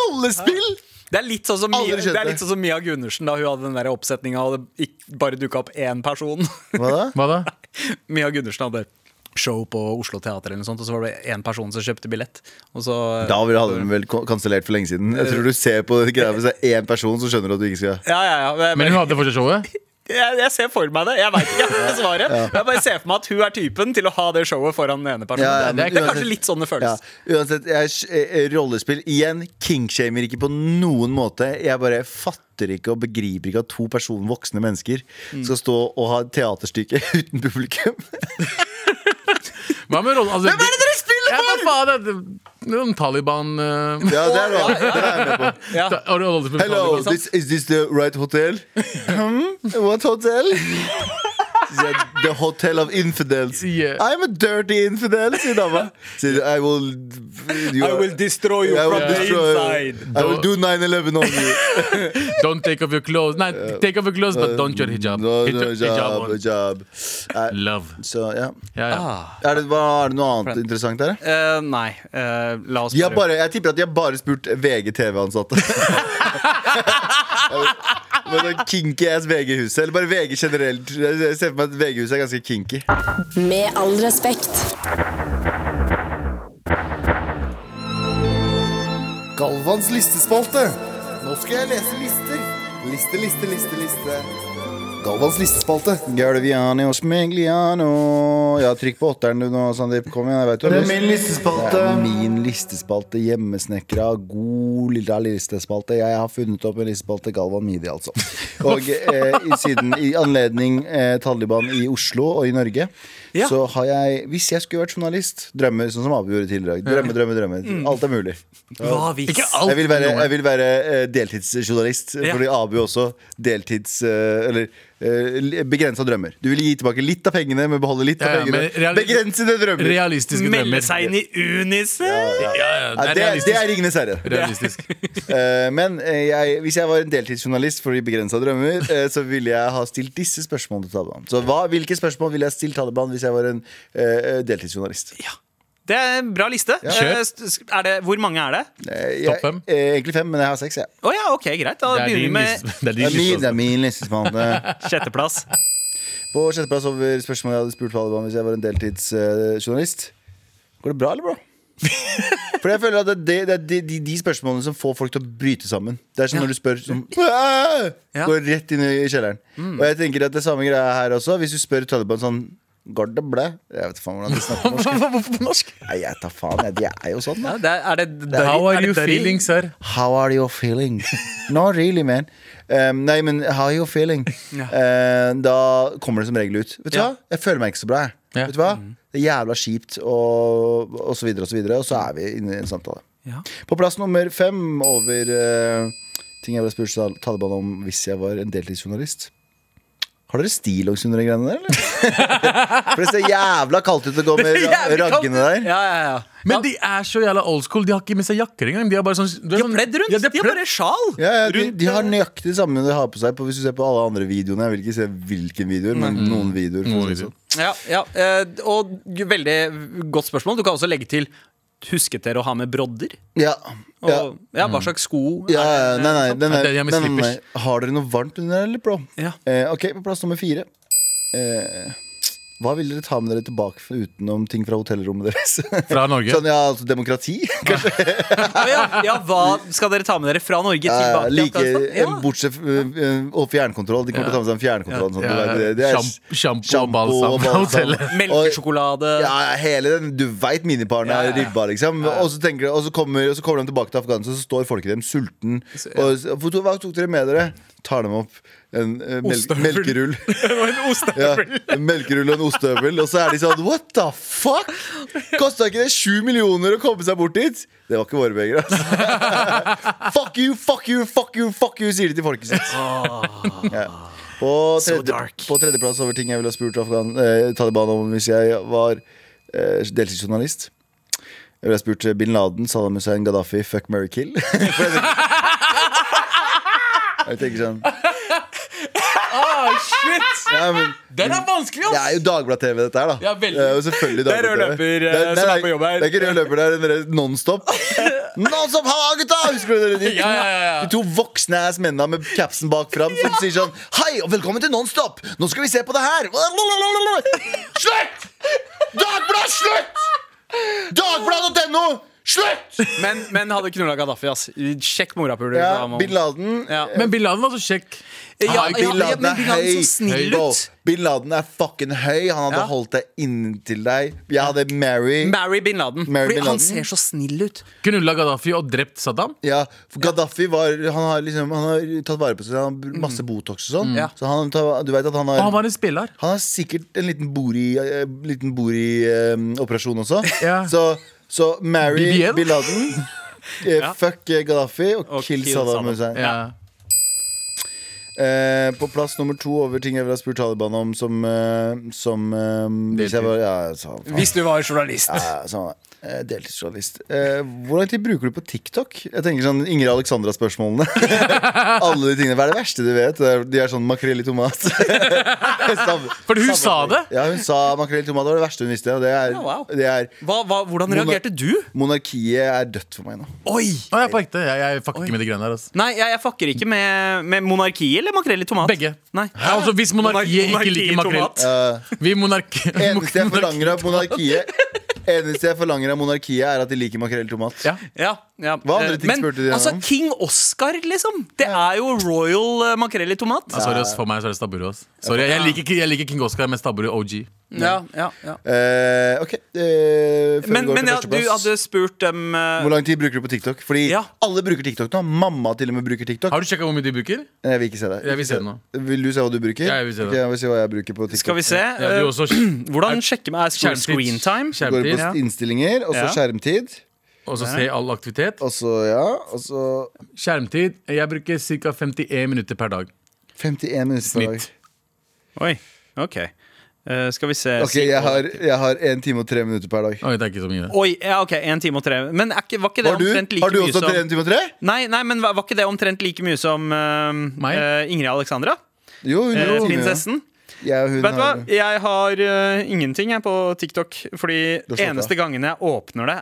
Rollespill! Det er litt sånn som, Mia, Aldri skjønt det er det. litt sånn som Mia Gundersen da hun hadde den der oppsetninga og det ikk- bare dukka opp én person. Hva da? Hva da? Mia Gundersen hadde show på Oslo Teater, eller noe sånt og så var det én person som kjøpte billett. Og så eh, Da ville- hadde hun vel ko- kansellert for lenge siden. Jeg tror du ser på det greia hvis det er én person som skjønner at du ikke skal Ja, ja, ja. Jeg, Men hun hadde fortsatt showet? jeg, jeg ser for meg det. Jeg veit ikke jeg har ikke svaret. Jeg bare ser for meg at hun er typen til å ha det showet foran den ene personen. Ja, ja, det, er, det men er uansett- kanskje litt sånn det ja. føles. Uansett, jeg, eh, rollespill igjen. Kingshamer ikke på noen måte. Jeg bare fatter ikke og begriper ikke at to personer, voksne mennesker, skal stå og ha et teaterstykke uten publikum. Hva med rolle... Altså, Hvem er det dere spiller Ja, hva faen er det? Noen Taliban eh, Ja, det er bra. Det er jeg med på. Ja. ta- og rolle- Taliban, Hello, ikke sant? this, is this the right hotel? Hmm? What hotel? The, the hotel of infidels. Yeah. I'm a dirty infidel, sier dama. Sier, I will you are- destroy I will destroy- I will do 9-11 on you. Don't take off your clothes. Nei, take off your clothes, but don't your hijab. Uh, No, Uh, no, Hijab, hijab job, on. job. Nei, Love. Så, ja. Ja, ja. er, det, hva, er det noe annet interessant der? Eh, nei, eh, la oss De har prøve. bare, jeg tipper at de har bare spurt VG-TV-ansatte. Med sånn kinky ass VG-huset. Eller bare VG generelt. Jeg ser for meg at VG-huset er ganske kinky. Med all respekt. Galvans listespalte. Nå skal jeg lese lister. Liste, liste, liste, liste. Galvans listespalte. Galviani og Smegliano. Ja, trykk på åtteren du nå, Sandeep. Kom igjen. jeg vet du har lyst. Det listespalte. er min listespalte. Hjemmesnekra, god lilla listespalte. Jeg har funnet opp en listespalte, Galvan Midi, altså. Og eh, i, siden, i anledning eh, Taliban i Oslo og i Norge, Ja. så har jeg Hvis jeg skulle vært journalist, drømmer sånn som Abu gjorde tidligere i dag. Drømme, drømme, drømme. Alt er mulig. Hva hvis? Ikke alt. Jeg vil være, jeg vil være eh, deltidsjournalist, Ja. fordi Abu også deltids... eh, Eller begrensa drømmer. Du vil gi tilbake litt av pengene, men beholde litt Ja, av ja, men pengene. reali- Begrensede drømmer! Realistiske Melde drømmer. seg inn i Unicef? Ja, ja, Ja, det er det, det realistisk. er Ringenes herre. Realistisk. Eh, men eh, jeg, hvis jeg var en deltidsjournalist for de begrensa drømmer, eh, så ville jeg ha stilt disse spørsmålene til Taliban. Så hva, hvilke spørsmål ville jeg stilt Taliban hvis jeg var en eh, deltidsjournalist? Det er en bra liste. Kjør. Eh, s- Er det, hvor mange er det? Eh, Topp jeg- fem? eh, egentlig fem, men jeg har seks. Jeg. Å ja, ok, greit. Da Det er begynner vi din med liste. Det er Det er din min, det listespalte. er min listespalte. sjetteplass. På sjetteplass over spørsmålet jeg hadde spurt Taliban hvis jeg var en deltidsjournalist. Går det bra, eller, bro? For jeg føler at det, det, det er de, de, de spørsmålene som får folk til å bryte sammen. Det er som når du spør som, «Æ!» Ja. Går rett inn i kjelleren. Mm. Og jeg tenker at det er samme greia her også. Hvis du spør Taliban sånn Går det bra? Jeg vet faen hvordan de snakker norsk. Hvorfor på norsk? Nei, jeg tar faen, jeg. De er jo sånn, da. Ja, det er, er det Dari- How er are det you Dari? feeling, sir? How are you feeling? No, really, man. Um, nei, men how are you feeling? Eh, da kommer det som regel ut. Vet du Ja. Mm. hva? Jeg føler meg ikke så bra. jeg. Ja. Vet du hva? Det er jævla kjipt, og, og så videre og så videre. Og så er vi inne i en samtale. Ja. På plass nummer fem over eh, ting jeg ble spurt Tal- Taliban om hvis jeg var en deltidsjournalist. Har dere stillongs under de greiene der, eller? For det ser jævla kaldt ut å gå med Det er jævlig kaldt. raggene der. Ja, ja, ja. Men de er så jævla old school. De har ikke med seg jakker engang. De har bare sånn du er De har sånn- pledd rundt. Ja, de har pledd. bare sjal. Ja, ja, de, rundt, de har nøyaktig det samme de har på seg på, hvis du ser på alle andre videoene. Jeg vil ikke se hvilken videoer, men noen videoer. For å Noen si det videoer. sånn. Ja, ja, eh, og veldig godt spørsmål. Du kan også legge til Husket dere å ha med brodder? Ja, Og, ja. ja, hva slags sko? Ja, ja, nei, nei, den Ja, er, det er med den er- slippers. Har dere noe varmt under der, eller, bro? Ja. Eh, ok, på plass nummer fire. Eh, hva vil dere ta med dere tilbake for- utenom ting fra hotellrommet deres? Fra Norge. Sånn, ja, altså demokrati? Å, ja, ja, hva skal dere ta med dere fra Norge Eh, tilbake til like, altså. Afghanistan? Ja. eh, Bortsett eh, eh, Og fjernkontroll. De kommer til å ta med seg en fjernkontroll. og sånt. Ja, Det er- det er- sjamp- sjampo og balsam fra hotellet. Melkesjokolade. Ja, hele den, Du veit miniparen er ribba, liksom. Og, så tenker, de- og, så kommer, og så kommer de tilbake til Afghanistan, så står folket dem sulten. Og, så- hvor to- hva tok dere med dere? Tar dem opp en eh, mel melkerull. ja, en melkerull og en ostehøvel. Og så er de sånn What the fuck? Kosta ikke det sju millioner å komme seg bort dit? Det var ikke våre penger, altså. fuck you, fuck you, fuck you, fuck you, sier de til folket sitt. Ja. På, tredje, dark. på tredjeplass over ting jeg ville ha spurt Afghan, eh, Taliban om hvis jeg var eh, deltidsjournalist. Jeg ville ha spurt eh, bin Laden, Saddam Hussein, Gaddafi, fuck, marry, kill. For jeg tenker- jeg tenker sånn ja, men, Den er vanskelig, Det ass! er jo Dagblad-TV, dette her, da. Ja, veldig. Det er jo selvfølgelig Det er rød Dagblad-TV. løper, eh, Det er- nei, som er nei, på jobb her. Det er ikke rød løper, det er en Nonstop. Nonstop, halla, gutta! Husker dere de, Ja, ja, ja, ja. de to voksne ass mennene med capsen bak fram som sier sånn Hei, og velkommen til Nonstop! Nå skal vi se på det her! Slutt! Dagblad, slutt! Dagblad.no! Slutt! Men, men hadde knulla Gaddafi, ass. Sjekk morapuler. Ja, da, mann. Bin Laden. Ja. Men Bin Laden var så kjekk. Ja, ja, Ai, Bin Laden men er Bin Laden høy. så snill Bro, ut. Bin Laden er fucking høy. Han hadde Ja. holdt deg inntil deg. Jeg hadde Mary. Marry bin Laden. Marry Fordi bin han Laden. ser så snill ut. Knulla Gaddafi og drept Saddam. Ja, for Gaddafi var, han har, liksom, han har tatt vare på seg. Han har masse Botox og sånn. Ja. Så han, tar- du vet at han har Og han var en spiller. Han har sikkert en liten eh, bori-operasjon eh, også. Ja. Så, så marry BBL? bin Laden, eh, fuck eh, Gaddafi og, Og kill kill Saddam Saddam. Hussein. Ja. Eh, på plass nummer to over ting jeg ville ha spurt Taliban om som, eh, som eh, Hvis jeg var ja, så, faen. Hvis du var journalist. Ja, samme det. Eh, Deltidsjournalist. Eh, hvor lang tid bruker du på TikTok? Jeg tenker sånn Ingrid Alexandra-spørsmålene. Alle de tingene. Hva er det verste du vet? Det er- De er sånn makrell i tomat. Sam- Fordi hun sa det! ja, hun sa makrell i tomat. Det var det verste hun visste. Og det er, Ja, wow. det er Hva, hva, hvordan Mona- reagerte du? Monarkiet er dødt for meg nå. Oi! Å, jeg er på ekte. Jeg, jeg fucker ikke med de greiene der. ass Nei, jeg, jeg fucker ikke med, med monarki eller makrell i tomat. Begge. Nei. Ja, altså, hvis monarkiet Monarki ikke i liker makrell tomat. Eh, Vi monarki... eneste jeg monarki- forlanger av monarkiet, Eneste jeg forlanger av monarkiet, er at de liker makrell i tomat. Ja. Ja, ja. Hva andre Eh, ting Men spurte de altså, om? King Oscar, liksom. Det er jo royal eh, makrell i tomat. Ja, Ah, sorry, ass. For meg så er det stabburet. ass. Sorry, jeg liker, ikke- jeg liker King Oscar, men stabburet OG. Ja, ja, ja. Eh, ok, eh, før vi Men, går til men ja, du førsteplass. hadde spurt dem eh, Hvor lang tid bruker du på TikTok? Fordi Ja. alle bruker TikTok nå. Mamma til og med bruker TikTok. Har du sjekka hvor mye de bruker? Eh, Nei, Jeg vil ikke se det. Jeg vil se det nå. Vil du se hva du bruker? Ja, jeg vil se det. Ok, jeg vil se hva jeg bruker på TikTok. Skal vi se. Ja, eh, du også. Hvordan sjekker man er Skjermtid. screen- screen time? Går Skjermtid. på innstillinger, og så Ja. skjermtid. Og så se all aktivitet. Og så, ja, og så Skjermtid. Jeg bruker ca. 51 minutter per dag. 51 minutter per dag. Snitt. Oi, ok. Eh, skal vi se. Ok, jeg har, jeg har 1 time og 3 minutter per dag. Oi, det er ikke så mye. Oi, ja, ok, en time og tre. Men er ikke, var ikke det Har du, omtrent like har du mye også som 1 time og 3? Nei, nei, men var var ikke det omtrent like mye som eh, Meg? eh, Ingrid Alexandra? Jo, hun Eh, jo, hun, ja. prinsessen? Jeg og hun Vet du hva? har det. Jeg har eh, ingenting jeg på TikTok. Fordi Du har slått eneste gangen jeg åpner det,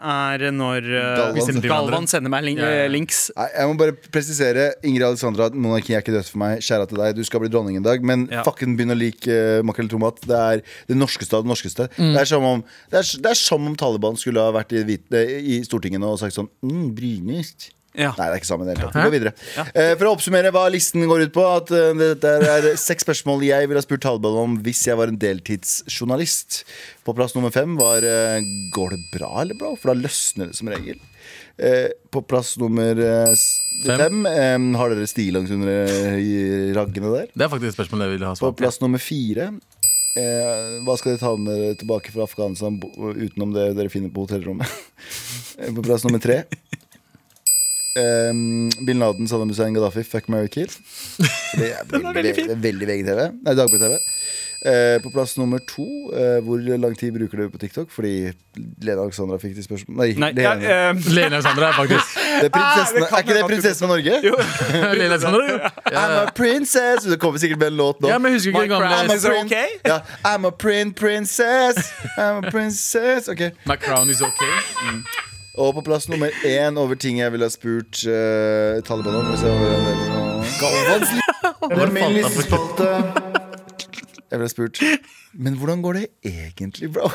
er når eh, Galvan sender til Galvan hverandre. sender meg lin Ja, ja. eh, links. Nei, jeg må bare presisere Ingrid Alexandra, monarki er ikke dødt for meg. Kjære til deg, du skal bli dronning en dag. Men Ja. fucken begynn å like uh, makrell i tomat. Det er det norskeste av det norskeste. Det, er som om, det, er, det er som om Taliban skulle ha vært i, hvit- eh, i Stortinget nå og sagt sånn mm, Brynyst. Ja. Nei, det er ikke sammen. i det hele tatt. Vi går videre. Eh, for å oppsummere hva listen går ut på, at eh, dette er seks spørsmål jeg ville ha spurt Taliban om hvis jeg var en deltidsjournalist. På plass nummer fem var eh, Går det bra, eller, bro? For da løsner det som regel. Eh, på plass nummer eh, s- Fem. fem eh, har dere stillongs under eh, i raggene der. Det er faktisk et spørsmål jeg ville ha På svar på. plass nummer fire eh, Hva skal dere ta med dere tilbake fra Afghanistan bo- utenom det dere finner på hotellrommet? Eh, på plass nummer tre ehm, bin Laden, Saddam Hussein, Gaddafi, Fuck Mary Kill. Det er veldig, veldig, veldig VGTV. Nei, Dagbladet-TV. Eh, på plass nummer to, eh, hvor lang tid bruker du på TikTok? Fordi Lena Alexandra fikk de spørsmål Nei, Nei, Lena. ja, eh, Lene Sandra, faktisk. det er, Ah, prinsessen, det kan er ikke det jeg prinsessen av Norge? jo. Lene Sandra, jo. I'm a princess! Det kommer sikkert med en låt nå. Ja, men husker ikke den Minecraft. gamle Is it prin- okay? Ja, I'm a prin princess. I'm a princess. Ok. Macron is ok. Og på plass nummer én over ting jeg ville ha spurt eh, Taliban om. Hvis jeg var en del av noe. Galvans li- Det er min listespalte. Jeg ble spurt Men hvordan går det egentlig, bro?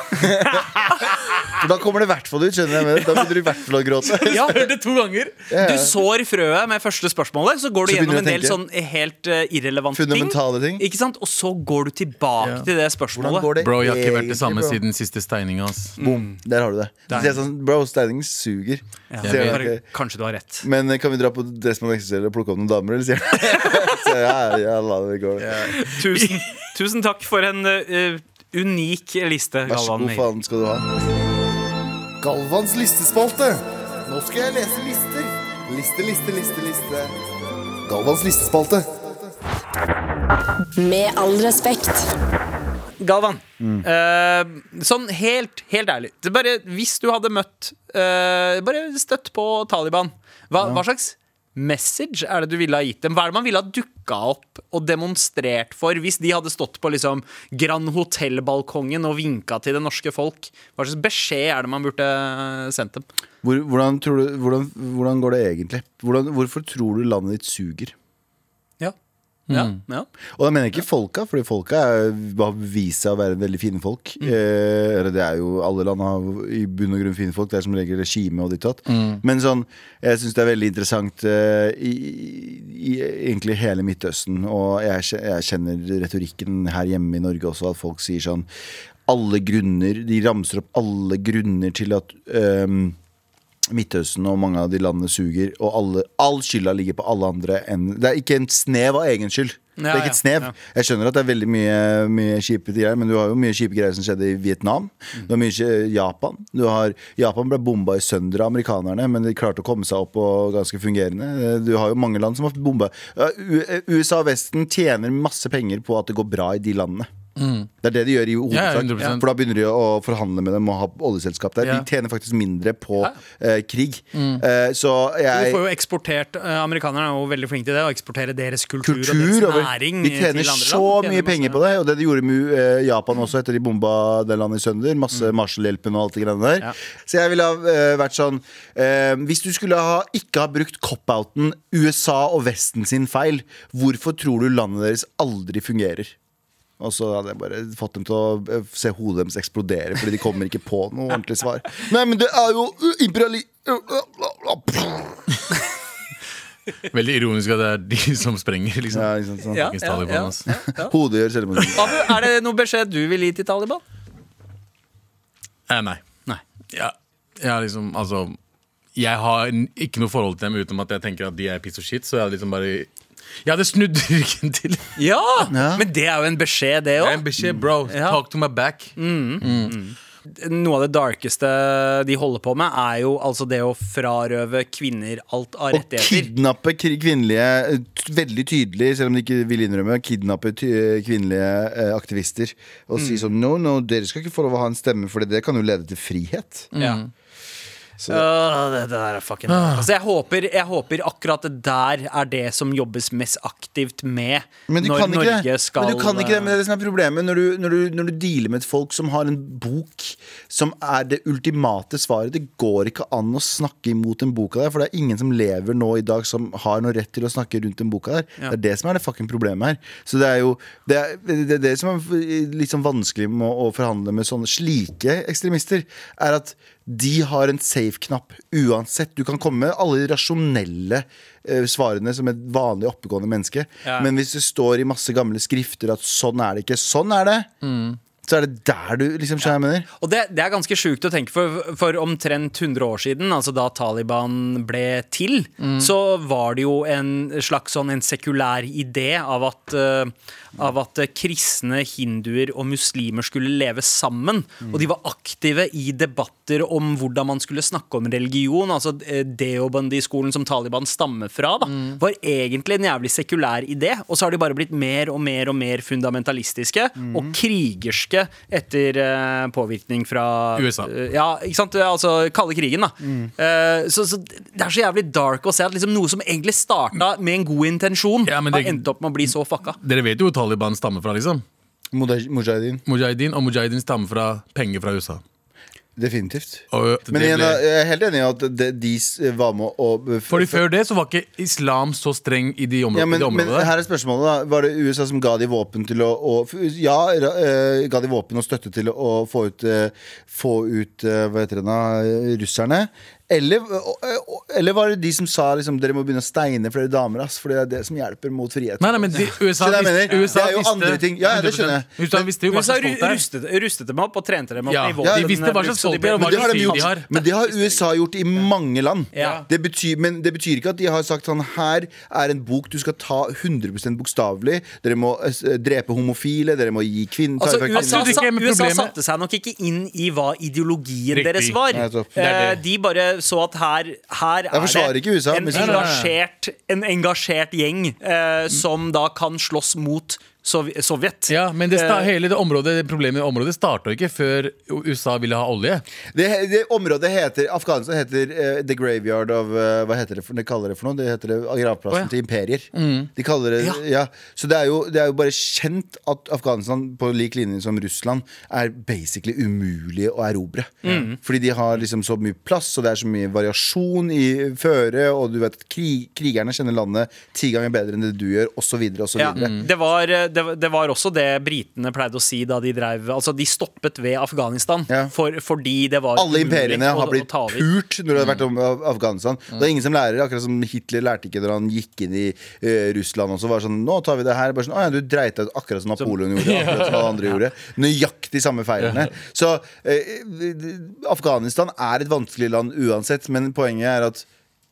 For da kommer det i hvert fall ut. skjønner jeg med det. Da begynner du i hvert fall å gråte. Ja, Hørte to ganger. Du sår frøet med første spørsmålet, så går du Så begynner gjennom en du å del tenke. sånn helt eh, irrelevante ting. Fundamentale ting. Ikke sant? Og så går du tilbake til det Hvordan spørsmålet. går det Bro, jeg har ikke vært egentlig, det samme bro? siden siste steininga. ass. Boom. Der har du det. Så sier jeg sånn, bro, steining suger. Så sier Ja, jeg, bare- «Ok, Kanskje du har rett. Men kan vi dra på Dressmann eksisterer og plukke opp noen damer, eller? sier jeg. Så jeg, ja, ja, la det gå. Tusen, tusen takk for en eh, unik liste, Vær så Galvan. god, faen skal du ha. Galvans listespalte. Nå skal jeg lese lister. Liste, liste, liste, liste. Galvans listespalte. Med all respekt. Galvan, Mm. eh, sånn helt, helt ærlig det er bare, Hvis du hadde møtt eh, Bare støtt på Taliban hva, hva slags message er det du ville ha gitt dem? Hva er det man ville ha dukket opp og demonstrert for Hvis de hadde stått på liksom Grand Hotel-balkongen og vinket til det norske folk? Hva slags beskjed er det man burde eh, sendt dem? Hvor, hvordan, tror du, hvordan, hvordan går det egentlig? Hvordan, hvorfor tror du landet ditt suger? Ja, ja, Mm. ja. Og da mener jeg ikke folka, fordi folka er, har vist seg å være veldig fine folk. Eh, eller det er jo alle land har i bunn og grunn fine folk. Det er som regel regime og ditt og datt. Men sånn, jeg syns det er veldig interessant eh, i, i egentlig hele Midtøsten. Og jeg, kje- jeg kjenner retorikken her hjemme i Norge også, at folk sier sånn alle grunner, De ramser opp alle grunner til at ehm, Midtøsten og mange av de landene suger, og alle, all skylda ligger på alle andre. Enn, det er ikke en snev av egen skyld. det Ja, er ikke et ja, snev. Jeg skjønner at det er veldig mye, mye kjipe greier, men du har jo mye kjipe greier som skjedde i Vietnam. Mm. Du har mye kje- Japan. Du har, Japan ble bomba i sønder av amerikanerne, men de klarte å komme seg opp og ganske fungerende. Du har jo mange land som har bomba. Ja, U- USA og Vesten tjener masse penger på at det går bra i de landene. Mm. Det er det de gjør i Ja, hovedsak. 100%. for da begynner de å forhandle med dem og ha oljeselskap der. Ja. De tjener faktisk mindre på eh, krig. Eh, så jeg Du får jo eksportert, eh, Amerikanerne er jo veldig flinke til det Å eksportere deres kultur, Kultur og deres over- næring De eh, tjener til andre så land. De tjener mye masse- penger på det, og det de gjorde med eh, Japan også, etter de bomba det landet i sønder. Masse Marshall-hjelpen og alt det greiene der. Mm. Ja. Så jeg ville ha eh, vært sånn eh, Hvis du skulle ha, ikke ha brukt cop-outen USA og Vesten sin feil, hvorfor tror du landet deres aldri fungerer? Og så hadde jeg bare fått dem til å eh, se hodet deres eksplodere, fordi de kommer ikke på noe ordentlig svar. Nei, men det er jo uh, imperiali... Veldig ironisk at det er de som sprenger, liksom. Ja, ikke sant, sånn. Ja, Fuckings ja, Taliban, ja, ass. ja, ja. Hodet gjør selvmord. Abu, er det noen beskjed du vil gi til Taliban? Eh, nei. Nei. Ja, jeg har liksom, altså Jeg har n- ikke noe forhold til dem utenom at jeg tenker at de er piece of shit, så jeg hadde liksom bare Jeg hadde snudd ryggen til. Det Ja! Ja. Men det er jo en beskjed, det er òg. en beskjed, bro. Ja. Talk to my back. Noe av det darkeste de holder på med, er jo altså det å frarøve kvinner alt av Og rettigheter. kidnappe kri- kvinnelige eh, t- Veldig tydelig, selv om de ikke vil innrømme Kidnappe ty- eh, kvinnelige eh, aktivister Og si Mm. sånn, no, no, dere skal ikke få lov å ha en stemme For det kan jo lede til frihet Ja. Åh, det, det der er fucking Ah. altså, jeg, håper, jeg håper akkurat det der er det som jobbes mest aktivt med Men du, når kan ikke Norge det. skal men du kan ikke det, men det er det som er problemet når du, når, du, når du dealer med et folk som har en bok som er det ultimate svaret Det går ikke an å snakke imot den boka der, for det er ingen som lever nå i dag som har noe rett til å snakke rundt den boka der. Det er det som er det fucking problemet her. Så det er jo det, er, det, er det som er litt sånn vanskelig med å, å forhandle med sånne slike ekstremister, er at de har en safe-knapp uansett. Du kan komme med alle de rasjonelle eh, svarene som et vanlig oppegående menneske. Men hvis det står i masse gamle skrifter at sånn er det ikke, sånn er det, så er det der du liksom skjønner hva jeg mener. Og det, det er ganske sjukt å tenke for, for omtrent 100 år siden, altså da Taliban ble til, så var det jo en slags sånn en sekulær idé av at, eh, av at eh, kristne, hinduer og muslimer skulle leve sammen. Og de var aktive i debatter debatter om hvordan man skulle snakke om religion. Altså eh, Deobandi-skolen som Taliban stammer fra, da, Mm. var egentlig en jævlig sekulær idé. Og så har de bare blitt mer og mer og mer fundamentalistiske Mm. og krigerske etter eh, påvirkning fra USA. Mm. eh, ja, ikke sant? Altså kalde krigen, da. Eh, så, så det er så jævlig dark å se at liksom noe som egentlig starta med en god intensjon, Ja, men det- har endt opp med å bli så fucka. Dere vet jo hvor Taliban stammer fra, liksom. Mujah- Mujahedin. Mujahedin og mujahedin stammer fra penger fra USA. Definitivt. Og øh, det Men igjen, ble- jeg er helt enig i at de, de s- var med å Fordi Før det så var ikke islam så streng i de områdene. ja, men, de men områdene der. her er spørsmålet da Var det USA som ga de våpen til å, å Ja, ra- eh, ga de våpen og støtte til å, få ut, eh, få ut eh, hva heter det nå, eh, russerne? Eller, eh, eller var det de som sa liksom, dere må begynne å steine flere damer? Ass, for det er det som hjelper mot frihet. Nei, nei, men de, Skjønner USA, jeg visste- mener? USA Det er jo visste- andre ting. Ja, ja, det skjønner jeg. 100%. USA visste jo hva USA slags folk det er. rustet, rustet dem opp og trente dem opp Ja, i våpen. de visste hva slags så de folk det er, og ble- hva Men det, har de sier gjort, de har. men det har USA gjort i mange land. Ja. Det betyr, men det betyr ikke at de har sagt sånn Her er en bok du skal ta 100 bokstavelig. Dere må eh, drepe homofile, dere må gi kvinner Altså, ta ifra USA, Absolutt ikke, men USA problemet- satte seg nok ikke inn i hva ideologien Riktig. deres var. Nei, nettopp. Det er Eh, det. De bare så at her, her er forsvarer det ikke USA, en, men- Nei, nei, nei. engasjert, en engasjert gjeng eh, som da kan slåss mot Sov Sovjet. Ja, men det sta, Eh, hele det området, det problemet i området starta ikke før USA ville ha olje. Det, det området heter Afghanistan heter eh, The Graveyard of eh, Hva heter det for, de kaller det for noe? Det heter det, gravplassen Å, ja. til imperier. De kaller det, ja. Så det er, jo, det er jo bare kjent at Afghanistan, på lik linje som Russland, er basically umulig å erobre. Fordi de har liksom så mye plass, og det er så mye variasjon i føre, og du vet at krig, krigerne kjenner landet ti ganger bedre enn det du gjør, osv. osv. Ja, Mm. det, var, eh, det, var- det var også det britene pleide å si da de drev Altså, de stoppet ved Afghanistan Ja. for, fordi det var Alle umulig imperiene å- har å blitt ta over. pult når det har vært om Af- Afghanistan. Det er ingen som lærer, akkurat som Hitler lærte ikke da han gikk inn i eh, Russland og så var det sånn Nå tar vi det her. Bare sånn, Å ja, du dreit deg ut akkurat som Napoleon gjorde. Akkurat som alle andre gjorde Nøyaktig samme feilene. Så eh, Afghanistan er et vanskelig land uansett, men poenget er at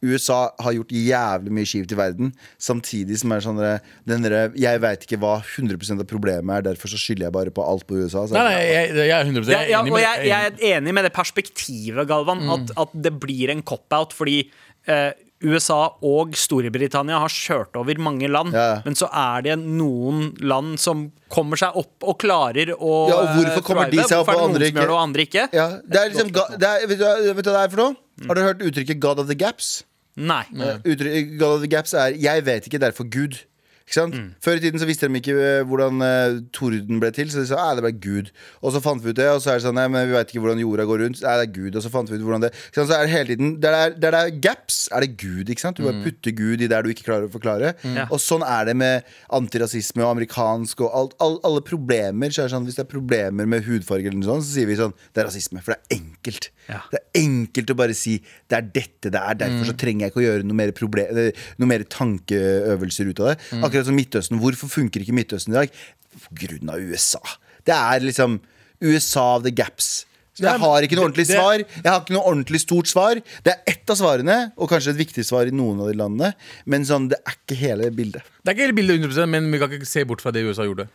USA har gjort jævlig mye kjipt i verden, samtidig som er sånn der- den derre Jeg veit ikke hva 100 av problemet er, derfor så skylder jeg bare på alt på USA. altså. Så, Nei, nei, jeg, jeg er 100 Ja, ja, enig og med Mm. jeg, jeg er enig med det perspektivet, Galvan, at, at det blir en cop-out. Fordi eh, USA og Storbritannia har kjørt over mange land. Ja, ja. Men så er det noen land som kommer seg opp og klarer å Ja, og hvorfor eh, kommer de thrive. seg opp Hvorfor er og det noen som gjør andre ikke? det, og andre ikke? Ja, det er liksom ga- det er, vet, du, hva- vet du hva det er for noe? Har du hørt uttrykket 'God of the gaps'? Nei. Eh, Uttrykk, God of the gaps er 'jeg vet ikke, derfor Gud'. Ikke sant? Før i tiden så visste de ikke eh, hvordan eh, torden ble til, så de sa «Nei, det ble Gud. Og så fant vi ut det, og så er det sånn nei, men vi vet ikke hvordan jorda går rundt. Nei, det er Gud, og så fant vi ut hvordan det ikke sant? Så er det hele tiden Der det er- der det er gaps, er det Gud. ikke sant? Du bare putter Gud i der du ikke klarer å forklare. Og sånn er det med antirasisme og amerikansk og alt, all, alle problemer. Så er det sånn, hvis det er problemer med hudfarge, eller noe sånt, så sier vi sånn det er rasisme, for det er enkelt. Ja. Det er enkelt å bare si det er dette det er, derfor Mm. så trenger jeg ikke å gjøre noe mer, proble- eller noe mer tankeøvelser ut av det. Mm. Akkurat som Midtøsten. Hvorfor funker ikke Midtøsten i dag? På grunn av USA. Det er liksom USA of the gaps. Så jeg har ikke noe ordentlig det- svar. Jeg har ikke noe ordentlig stort svar. Det er ett av svarene, og kanskje et viktig svar i noen av de landene, men sånn, det er ikke hele bildet. Det er ikke hele bildet 100 men vi kan ikke se bort fra det USA gjorde.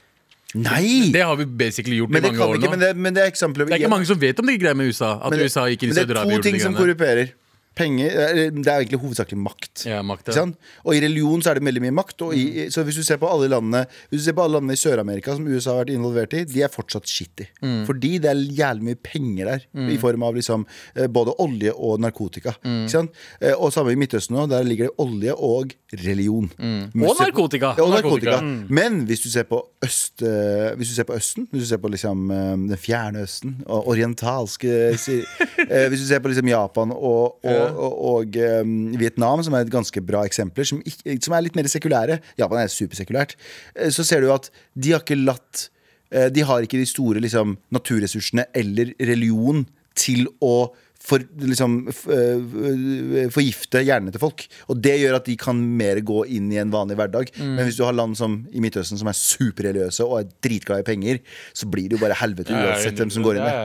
Nei! Det har vi basically gjort men i det mange kan år ikke, nå. men Det, det, men det er eksempler er ikke mange som vet om de greiene med USA. At Men det- USA gikk inn i men det er Saudi-Arabia to og gjorde ting de som greiene. korrumperer. Penger, eh, eller, det er jo egentlig hovedsakelig makt. Ja, makt, ja. Ikke Mm. sant? Og i religion så er det veldig mye makt. Og i, så hvis du ser på alle landene Hvis du ser på alle landene i Sør-Amerika som USA har vært involvert i, de er fortsatt shitty. Mm. Fordi det er jævlig mye penger der, i form av liksom, eh, både olje og narkotika. Mm. Ikke sant? Eh, Og samme i Midtøsten nå, der ligger det olje og religion. Mm. Hvis Og du ser på- narkotika. Ja, og narkotika. Men hvis du ser på øst, eh, Hvis du ser på Østen, hvis du ser på liksom eh, den fjerne Østen og orientalske si- eh, Hvis du ser på liksom Japan og, og, og, og eh, Vietnam, som er et ganske bra eksempler, som, ikke, som er litt mer sekulære Japan er supersekulært. eh, Så ser du at de har ikke latt eh, De har ikke de store liksom, naturressursene eller religion til å for, liksom, f- øh, forgifte hjernene til folk. Og det gjør at de kan mer gå inn i en vanlig hverdag. Mm. Men hvis du har land som i Midtøsten som er superreligiøse og er dritglade i penger, så blir det jo bare helvete uansett hvem som går inn der.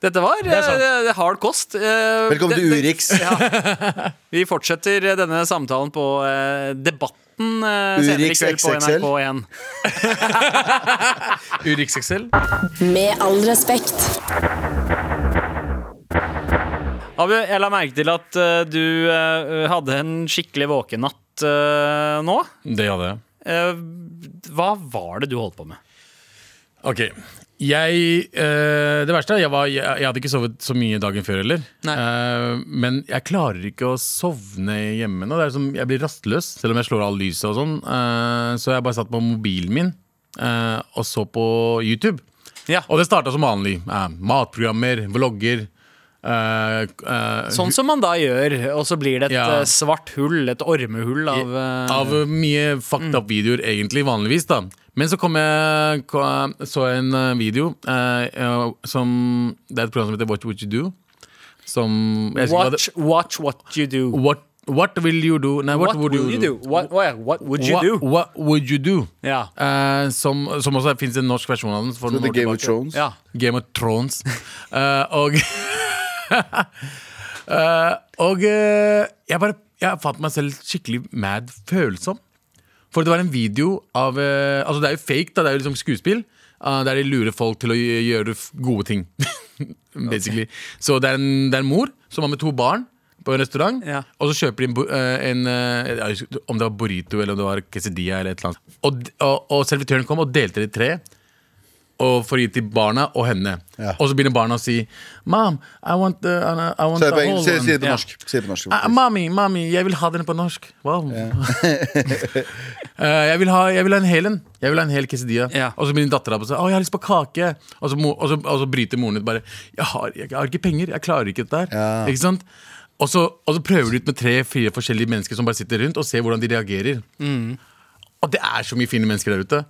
Dette var eh, hard kost. Eh, Velkommen det- til det- Urix. Ja. Vi fortsetter eh, denne samtalen på eh, Debatten eh, senere i Urix kveld på XXL. NRK1. Urix XL. Med all respekt. Abu, jeg la merke til at eh, du eh, hadde en skikkelig våken natt eh, nå. Det hadde jeg. Eh, hva var det du holdt på med? Ok jeg, eh, Det verste er jeg, var, jeg, jeg hadde ikke sovet så mye dagen før heller. Eh, men jeg klarer ikke å sovne hjemme nå. Det er som, jeg blir rastløs, selv om jeg slår av lyset og sånn. Eh, så jeg bare satt på mobilen min eh, og så på YouTube. Ja. Og det starta som vanlig. eh, matprogrammer, vlogger. eh, eh, Sånn som man da gjør, og så blir det et Ja. eh, svart hull, et ormehull av eh, mm. Av mye fucked up videoer, egentlig, vanligvis. da Men så kom jeg ko- så jeg en eh, video eh, eh, som Det er et program som heter Watch What You Do. Som jeg husker ikke hva watch, watch what you do. det, what, what will you do? Nei, what, What would will you do? What, oh ja, what would you What, do? what would you do? Ja. Eh, som, som også fins en norsk versjon av den. for noen The år Game of tilbake. Thrones. ja. Game of Thrones. Eh, og Eh, og eh, jeg bare Jeg fant meg selv skikkelig mad følsom. For det var en video av eh, Altså, det er jo fake, da. Det er jo liksom skuespill. eh, der de lurer folk til å gj- gjøre f- gode ting. Basically. Så det er, en, det er en mor som har med to barn på en restaurant. Ja. Og så kjøper de en, bo- eh, en eh, jeg husker ikke Om det var burrito eller om det var quesadilla eller et eller annet. Og, d- og, og servitøren kom og delte det i tre og for å gi til barna og henne. Ja. Og så begynner barna å si Mom, I want the, I want Si det the på whole engelsk. Si, si det one." på norsk. Si det på norsk. Ah, Mami, mami, jeg vil ha den på norsk. Wow. Eh, jeg, vil ha, jeg vil ha en hel en. Jeg vil ha en hel quesadilla. Ja. Og så begynner dattera på å si Å, jeg har lyst på kake. Og så, mo- og så, og så bryter moren ut bare jeg har, jeg har ikke penger. Jeg klarer ikke dette her. Ja. Ikke sant? Og så, og så prøver de ut med tre-fire forskjellige mennesker som bare sitter rundt, og ser hvordan de reagerer. Og det er så mye fine mennesker der ute.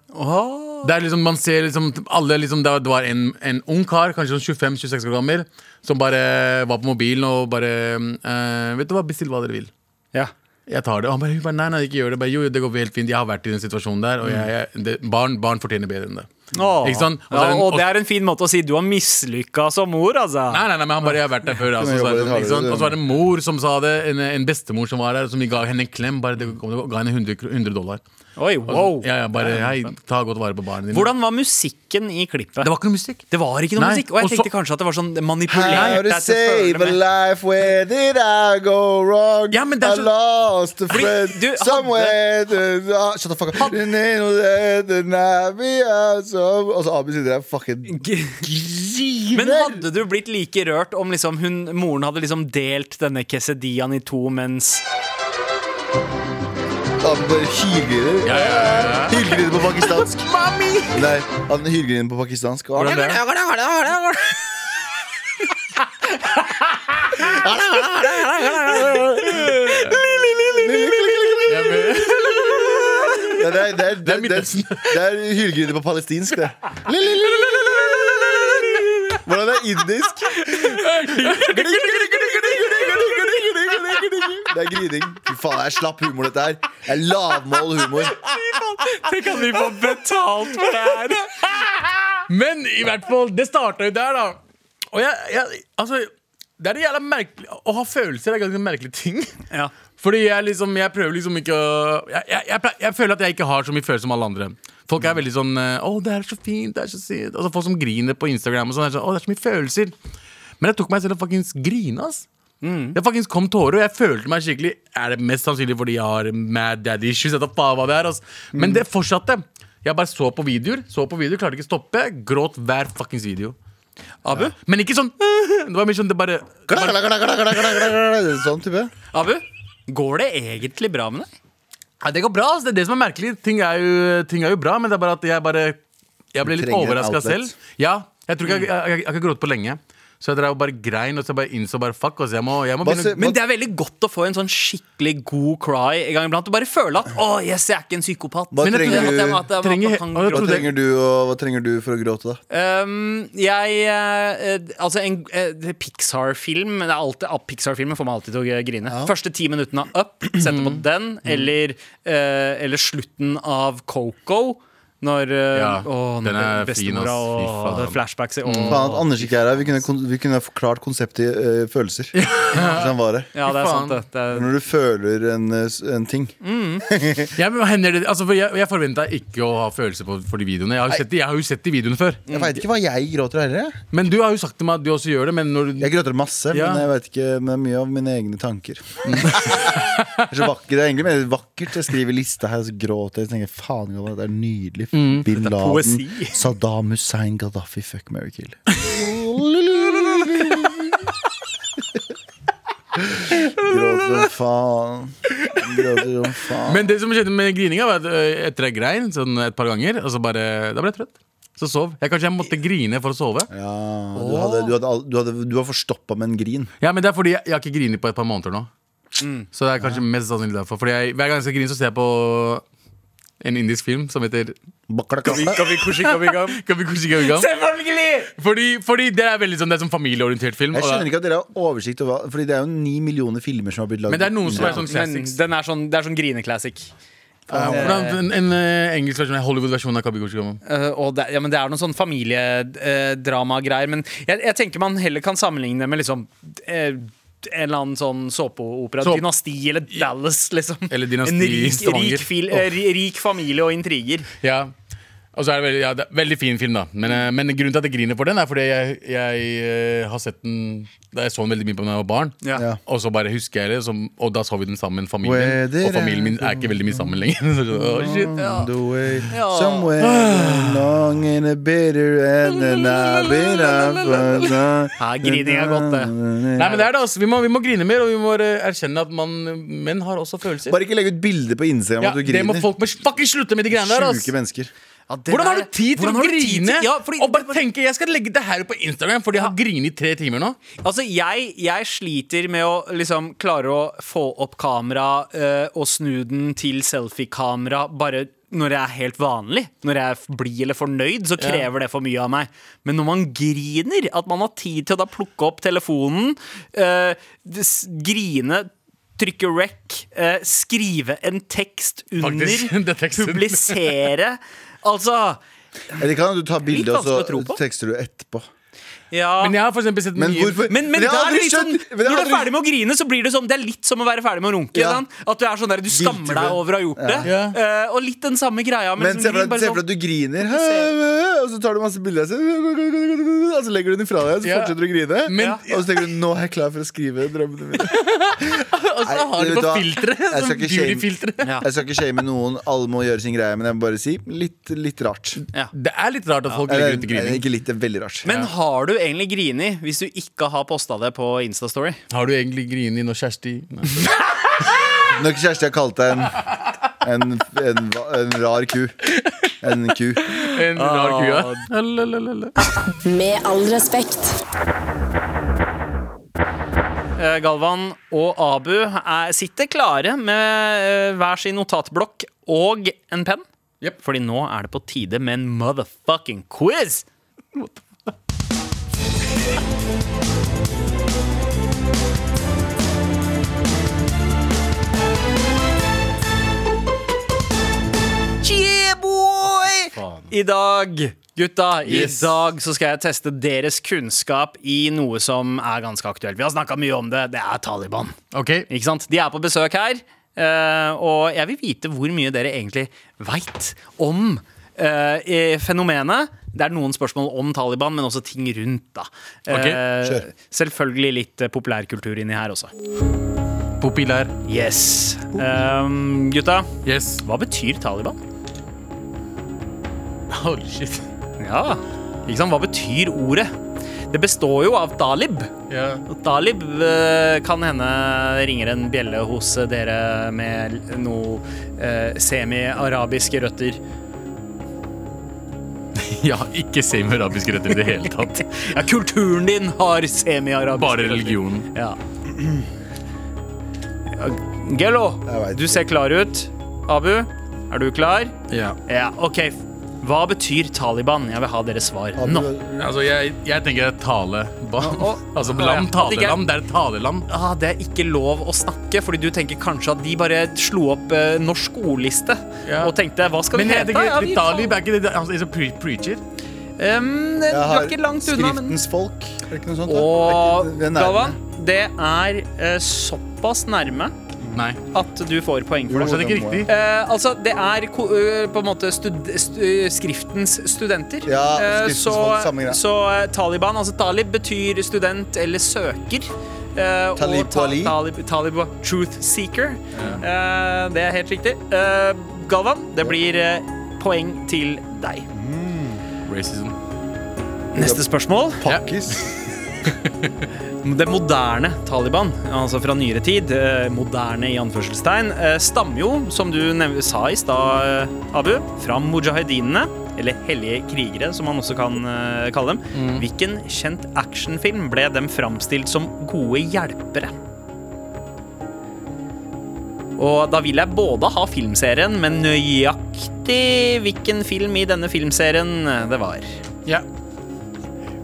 Det er liksom, man ser liksom alle liksom, Det var- det var en, en ung kar, kanskje sånn 25-26 år gammel, som bare var på mobilen og bare eh, Vet du hva, bestill hva dere vil. Ja. Jeg tar det. Og han bare, hun bare nei, nei, ikke gjør det. Jeg Bare, jo, jo, det går helt fint. Jeg har vært i den situasjonen der, og jeg, jeg, det, barn, barn fortjener bedre enn det. Åh. Ikke sant? Og så Ja, er det en- og det er en fin måte å si du har mislykka som mor, altså. Nei, nei, nei, men han bare, jeg har vært der før altså, Jeg så er det, jobber litt sånn, ikke sant? hardere, Og så var det en mor som sa det En, en bestemor som var der Som ga henne en klem Bare det, kom, det ga henne 100, kro- 100 dollar Oi, Og så- wow. ja, ja, bare, hei, ta godt vare på barnet dine Hvordan var musikken i klippet? Det var ikke noe musikk Det var ikke noe Nei, musikk, og jeg og så- tenkte kanskje at det var sånn How manipulert. to deg til å føle save a med. life, where did I go wrong? Ja, men det er I så- lost a friend du hadde- somewhere to- ah, Shut the fuck up. In the- the navy out some- Og så Abi sitter der fucking Men hadde du blitt like rørt om liksom hun, moren hadde liksom delt denne quesadillaen i to mens Abi bare hylgriner. ja, ja, ja, ja. Hylgriner på pakistansk. Nei, han hylgriner på pakistansk. Og Hvordan det? Ja, men- Det er, det er, det er, det er Midtøsten. det er hylgriner på palestinsk, det. Hvordan det er indisk? Det er grining. Fy faen, det er slapp humor, dette her. Det er lavmål humor. Tenk at vi får betalt for det her! Men i hvert fall, det starta jo der, da. Og jeg, jeg Altså, det er en jævla merkelig Å ha følelser er ganske merkelig ting. Ja. Fordi jeg liksom Jeg prøver liksom ikke å jeg, jeg, jeg, ple- jeg føler at jeg ikke har så mye følelser som alle andre. Folk er veldig sånn eh, 'Å, det er så fint', det er så sykt. Altså Folk som griner på Instagram og sånn. er sånn, 'Å, det er så mye følelser'. Men jeg tok meg selv og fuckings grine, ass. Det fuckings kom tårer, og jeg følte meg skikkelig Er det mest sannsynlig fordi jeg har mad daddy issues? Jeg vet da faen hva det er, ass. Men det fortsatte. Jeg bare så på videoer, så på videoer, klarte ikke å stoppe. Gråt hver fuckings video. Abu? Men ikke sånn Det var mye sånn det bare Sånn type. Abu, går det egentlig bra med deg? Ja, det går bra. ass. Det er det som er merkelig. Ting er jo, ting er jo bra, men det er bare at jeg bare Jeg ble Du litt trenger et overraska outlet. Mm. selv. Ja, jeg tror ikke jeg, jeg, jeg, jeg har ikke grått på lenge. Så jeg drev og bare grein og så bare innså bare fuck. ass, jeg må, jeg må Hva begynne ser- Men det er veldig godt å få en sånn skikkelig god cry en gang iblant. Og bare føle at 'Å, yes, jeg er ikke en psykopat'. Hva Men jeg trenger trodde du- at jeg- at jeg- at trenger- jeg kan og jeg gråte. Hva trodde- trenger du, og hva trenger du for å gråte, da? Um, jeg eh, eh, Altså, en eh, Pixar-film det er alltid, ah, Pixar-filmen får meg alltid til å grine. Første ti minuttene av Up, sette på den, eller, eh, eller slutten av Coco. Når eh, Ja, åh, den når er fin, bestemora ass. Fy og faen. Mm. det er flashbacks i åh. Faen at Anders ikke er her. Vi kunne, kon- vi kunne ha forklart konseptet i eh, følelser. Hvis han var her. Ja, det er Fy sant, det. det er, Når du føler en, eh, s- en ting. Ja, men hva hender det, altså, for jeg jeg forventa ikke å ha følelser på, for de videoene. Jeg har, jo sett, de- jeg har jo sett de videoene før. Jeg veit ikke hva jeg gråter av heller. jeg. Men du har jo sagt til meg at du også gjør det. Men når du, Jeg gråter masse, Ja. men jeg vet ikke men det er mye av mine egne tanker. Det er så vakkert, det er egentlig mer vakkert. Jeg skriver liste her, så gråter jeg. Så tenker jeg, faen, Galvan, det er nydelig. Bin Laden, poesi. Saddam Hussein, Gaddafi, fuck, marry, kill. Gråter som faen. Gråter som faen. men det som skjedde med grininga, var at øh, etter jeg grein sånn et par ganger, og så bare, da ble jeg trøtt. Så sov. Jeg, kanskje jeg måtte grine for å sove. Ja, du, hadde, du, hadde, all- du, hadde, du var forstoppa med en grin. Ja, men det er fordi jeg, jeg har ikke grinet på et par måneder nå. Mm. Så det er kanskje mest sannsynlig derfor. Fordi jeg, hver gang jeg skal grine, så ser jeg på en indisk film som heter Kabhi Kushi Kabhi Gam. Selvfølgelig! Fordi, fordi det er veldig sånn, det er sånn familieorientert film. Jeg og skjønner det- ikke at dere har oversikt over Fordi det er jo ni millioner filmer som har blitt laget. Men det er noen som er sånn Men classics. den er sånn, det er sånn grineclassic. Hvordan- En, en, eh, engelsk versjon, en Hollywood-versjon av Kabhi Kushi Gam. Eh, og det, ja, men det er noen sånn familiedramagreier. men jeg, jeg tenker man heller kan sammenligne med liksom eh, en eller annen sånn såpeopera. Så- Dynasti eller Dallas, liksom. Eller Dynasti en rik, Stavanger. rik, fil, eh, ri- rik familie og intriger. Ja. Og så er det veldig, ja, det er veldig fin film, da. Men, eh, men grunnen til at jeg griner for den, er fordi jeg, jeg eh, har sett den Da jeg så den veldig mye på da jeg var barn. Ja. Og så bare husker jeg det, som, og da så vi den sammen, Where familien. did Og familien min er ikke veldig mye sammen lenger. Så, oh, shit, ja. On the way, somewhere long and a bitter end and I've been up and down. Ja, grining er godt, det. Nei, men det er det, altså. Vi må, vi må grine mer, og vi må eh, erkjenne at man, menn har også følelser. Bare ikke legge ut bilde på Instagram ja, at du det må griner. folk må fucking slutte med de greiene der, Sjuke altså. mennesker. Ja, det Hvordan har der- du tid til Hvordan å har du tid til- grine? Ja, fordi, og bare tenke, jeg skal legge det her ut på Instagram, fordi jeg har grinet i tre timer nå. Altså, jeg, jeg sliter med å liksom klare å få opp kamera eh, og snu den til selfie-kamera bare når jeg er helt vanlig. Når jeg f- blir eller fornøyd, så krever det for mye av meg. Men når man griner, at man har tid til å da plukke opp telefonen, eh, s- grine Trykke rec, eh, skrive en tekst under, Faktisk, det er teksten. publisere Altså Eller kan du ta bilde, og vanskelig å tro så på. tekster du etterpå. Ja. Men jeg har for eksempel sett Men mye- hvorfor Men, men, jeg har der er aldri det litt sånn, skjønt- men jeg når har du er aldri- ferdig med å grine, så blir det sånn Det er litt som å være ferdig med å runke. Ja. sant? At du er sånn der, du skammer deg Guilty. over å ha gjort det. Ja. Eh, og litt den samme greia. Men, Men se liksom, for grin deg bare se for deg sånn, at du griner, og så tar du masse bilder, og så- og så legger du den fra deg, og så Ja. fortsetter du å grine. Men- Og så tenker du 'nå er jeg klar for å skrive drømmene mine'. Og så Nei, altså, har vet de du på hva? filteret. Jeg Sånn Som skal ikke shame- beautyfiltre. Jeg skal ikke shame noen, alle må gjøre sin greie, men jeg må bare si litt, litt rart. Det er litt rart at folk Eller, legger ut grining. ikke litt, det er veldig rart. men har du egentlig grini hvis du ikke har posta det på Instastory? Har du egentlig grinet når Kjersti Nei. Når kjæreste har kalt deg en, en, en, en rar ku. En ku. En rar kua. Lalalala. Med all respekt. Eh, Galvan og Abu er, sitter klare med eh, hver sin notatblokk og en penn. Jep. Fordi nå er det på tide med en motherfucking quiz! Yeah, boy! I dag, gutta, Yes. i dag så skal jeg teste deres kunnskap i noe som er ganske aktuelt. Vi har snakka mye om det. Det er Taliban. Ok, Ikke sant? De er på besøk her, eh, og jeg vil vite hvor mye dere egentlig veit om eh, eh, fenomenet. Det er noen spørsmål om Taliban, men også ting rundt. da Ok, Eh, kjør. Selvfølgelig litt eh, populærkultur inni her også. populær. Yes. Ehm, gutta, Yes. hva betyr Taliban? Holy shit. Ja, ikke sant? Hva betyr ordet? Det består jo av Talib. Ja. Og Talib eh, kan hende ringer en bjelle hos dere med l- noe eh, semi-arabiske røtter. Jeg har ikke semi-arabiske røtter i det hele tatt. Ja, kulturen din har semi-arabiske Bare røtter. religionen. Ja. Ja, Gello, Jeg vet du ser klar ut. Abu, er du klar? Ja. Ja, OK. Hva betyr Taliban? Jeg vil ha deres svar nå. Altså, jeg, jeg tenker tale Altså, land, Ja, ja. taleland. Det er et taleland. Ah, det er ikke lov å snakke, fordi du tenker kanskje at de bare slo opp eh, norsk ordliste Ja. og tenkte hva skal vi Men hete? jeg Ja, tenker vi- litt talib er ikke det altså, it's a pre preacher? Ehm, det Jeg var har ikke langt unna, men Skriftens folk. Er det ikke noe sånt? da? Og Det er ikke- det er nærme. Galvan, det er eh, såpass nærme Nei. at du får poeng for det. Det er fortsatt ikke riktig. Eh, altså, det er ko eh, på en måte stud stu skriftens studenter. Ja, Eh, skriftens så folk, samme greia. så eh, Taliban, altså Talib, betyr student eller søker. Eh, Talib og ta Wali. Talib, Talib var truth seeker. Eh, det er helt riktig. Eh, Galvan, det blir eh, poeng til deg. Mm. Racism. Neste spørsmål. Pakkis. Det moderne Taliban, altså fra nyere tid, eh, moderne i anførselstegn, eh, stammer jo, som du nev- sa i stad, eh, Abu, fra mujahedinene, eller hellige krigere, som man også kan eh, kalle dem. Hvilken kjent actionfilm ble dem framstilt som gode hjelpere? Og da vil jeg både ha filmserien, men nøyaktig hvilken film i denne filmserien eh, det var. Ja.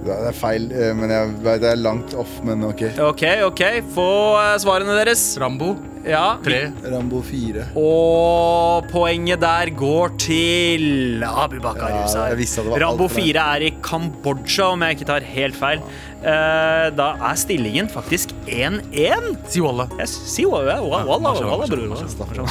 Det er feil, eh, men jeg vet det er langt off, men ok. OK, OK, få eh, svarene deres. Rambo Ja, 3. Rambo 4. Og poenget der går til Abu Bakar Ja, Husar. jeg visste at det var Rambo alt for langt. 4 er i Kambodsja, om jeg ikke tar helt feil. Eh, Da er stillingen faktisk 1-1. Jeg Siwalla. s- sier wow, wow, wow, wow, wow, wow, bror.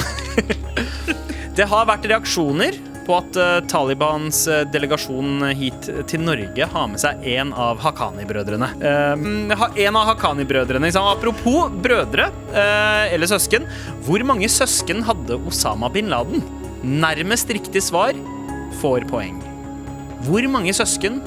Det har vært reaksjoner på at eh, Talibans eh, delegasjon hit til Norge har med seg en av Haqqani-brødrene. Eh, ha- en av Haqqani-brødrene. Liksom. Apropos brødre eh, eller søsken. Hvor mange søsken hadde Osama bin Laden? Nærmest riktig svar får poeng. Hvor mange søsken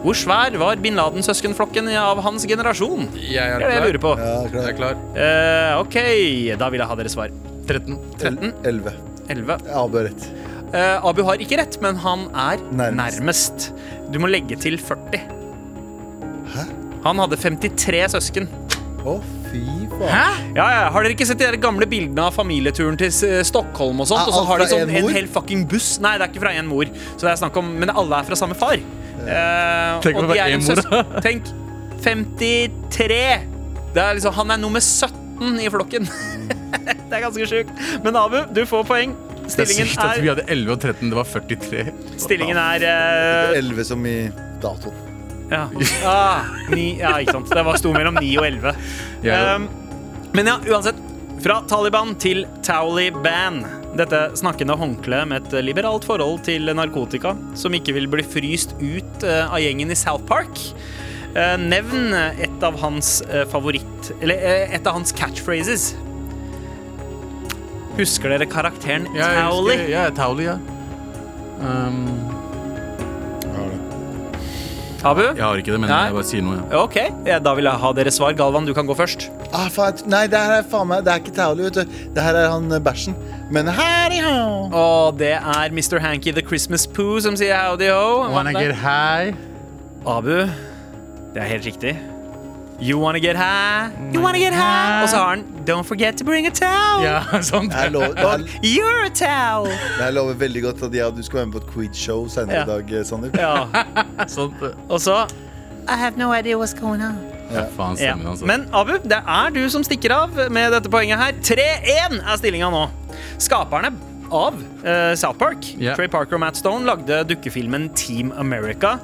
Hvor svær var bin Laden-søskenflokken av hans generasjon? Jeg Det er det jeg lurer på. Ja, Jeg er klart. klar. Eh, OK, da vil jeg ha deres svar. 13. 13? 11. 11? Jeg avbød rett. Eh, Abu har ikke rett, men han er nærmest. Nærmest. Du må legge til 40. Han hadde 53 søsken. Å, fy faen. Ja, ja. Har dere ikke sett de der gamle bildene av familieturen til eh, Stockholm? og sånt? Er Og så alt har de Ah, fra sånn en en, mor? hel fucking buss. Nei, det er ikke fra én mor. Så det er snakk om, Men alle er fra samme far. Eh, Tenk om og de det var er en en mor, søs- Tenk 53! Det er liksom, han er nummer 17 i flokken. det er ganske sjukt. Men Abu, du får poeng. Det er Stillingen sykt at vi er, hadde 11 og 13. Det var 43. stillingen er eh, 11 som i datoen. Ja. Ah, ni, ja, ikke sant. Det var sto mellom 9 og 11. Ja. Um, men ja, uansett. Fra Taliban til Taliban. Dette snakkende håndkleet med et liberalt forhold til narkotika, som ikke vil bli fryst ut eh, av gjengen i South Park. Eh, nevn et av hans eh, favoritt Eller eh, et av hans catchphrases. Husker dere karakteren Ja, jeg husker- Towley? Ja, Tauli, ja. Um, Abu? jeg har ikke det, men Nei. jeg bare sier noe. Ja. OK, ja, da vil jeg ha deres svar. Galvan, du kan gå først. Ah, faen, jeg- nei, det her er faen meg Det er ikke Tauli, vet du. Det her er han eh, bæsjen. Men her er han. Og det er Mr. Hanky the Christmas Poo som sier howdy ho. Wanna get high? Abu, det er helt riktig. You wanna get high, you wanna get high. Og så har han Don't forget to bring a towel. Ja, sånn. Det her lover, det her, You're a towel. det her lover veldig godt at jeg og du skal være med på et quiz-show senere Ja. i dag, eh, Sandeep. Ja, sånt. eh. og så I have no idea what's going on. Ja, faen, ja. stemmen altså. hans. Men Abu, det er du som stikker av med dette poenget her. 3-1 er stillinga nå. Skaperne av eh, South Park, Ja. Trey Parker og Matt Stone, lagde dukkefilmen Team America.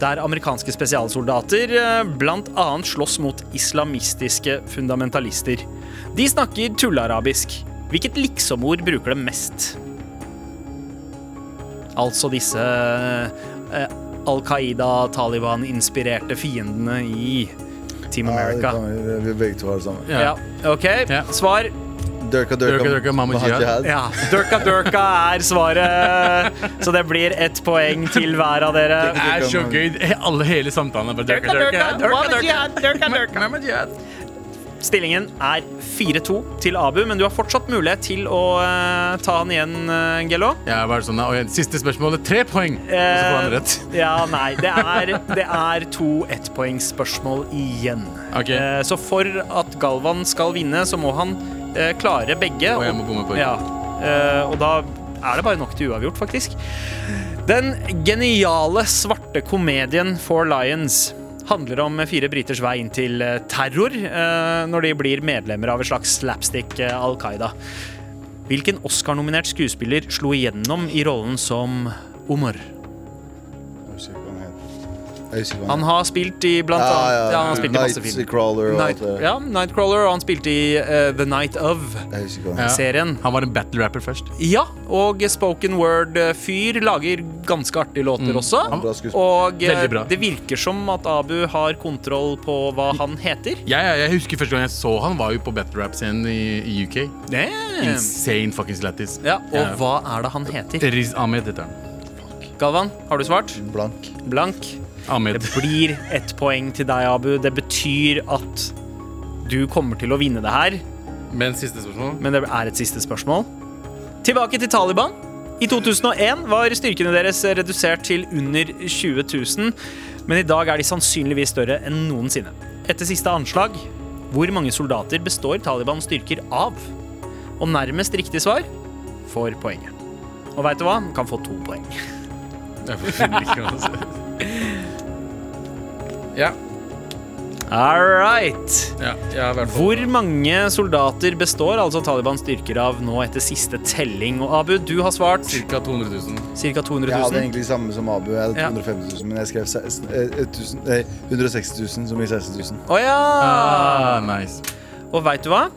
Der amerikanske spesialsoldater eh, blant annet slåss mot islamistiske fundamentalister. De snakker tullearabisk. Hvilket liksomord bruker de mest? Altså disse eh, Al Qaida, Taliban-inspirerte fiendene i Team Ja, det America. kan vi- Vi begge to har det samme. Ja. Ja, OK. Ja. Svar Durka, durka, Durka, durka, mamma jihad. ja. Durka durka er svaret. Så det blir ett poeng til hver av dere. Det er så gøy. He- Alle hele samtalen er bare Durka, durka, durka, Muhammad durka. Jihad, durka, durka. Muhammad Jihad. Stillingen er 4-2 til Abu, men du har fortsatt mulighet til å eh, ta han igjen, uh, Gello. Ja, bare sånn, da. og igjen, Siste spørsmålet. Tre poeng! Og så får han rett. Eh, Ja, nei, det er, det er to ettpoengsspørsmål igjen. Ok. Eh, Så for at Galvan skal vinne, så må han eh, klare begge. Og jeg må bomme på ja. eh, Og da er det bare nok til uavgjort, faktisk. Den geniale svarte komedien Four Lions handler om fire briters vei inn til eh, terror eh, når de blir medlemmer av et slags slapstick eh, Al Qaida. Hvilken Oscar-nominert skuespiller slo igjennom i rollen som Omar? Han har spilt i blant annet ja, altså. han har spilt i masse film. Nightcrawler og alt Night, det der. ja, Nightcrawler, og han spilte i eh, The Night Of-serien. Jeg husker ikke hva han- Han var en battle rapper først. Ja, og spoken word-fyr lager ganske artige låter også. Bra skuespill. Og eh, Mm. Veldig bra. det virker som at Abu har kontroll på hva han heter. Ja, ja, jeg husker første gang jeg så han, var jo på battle rap-scenen i, i UK. Insane fucking lættis. Ja, og hva er det han heter? Riz Ahmed heter han. Galvan, har du svart? Blank. Blank. Ahmed. Det blir ett poeng til deg, Abu. Det betyr at du kommer til å vinne det her, Men siste spørsmål? men det er et siste spørsmål. Tilbake til Taliban. I 2001 var styrkene deres redusert til under 20 000, men i dag er de sannsynligvis større enn noensinne. Etter siste anslag, hvor mange soldater består Talibans styrker av? Og nærmest riktig svar får poenget. Og veit du hva? Man kan få to poeng. Jeg finner ikke noe å si. Ja. All right. ja jeg har vært Hvor mange soldater består altså Talibans styrker av nå etter siste telling? Og Abu, du har svart ca. Ca. 200 000. 200 Jeg hadde 000. egentlig samme som Abu. Jeg hadde Ja. 250 000, men jeg skrev se- eh, 1000 eh, 160 000, som i 16 000. Å ja! Ah, nice. Og veit du hva?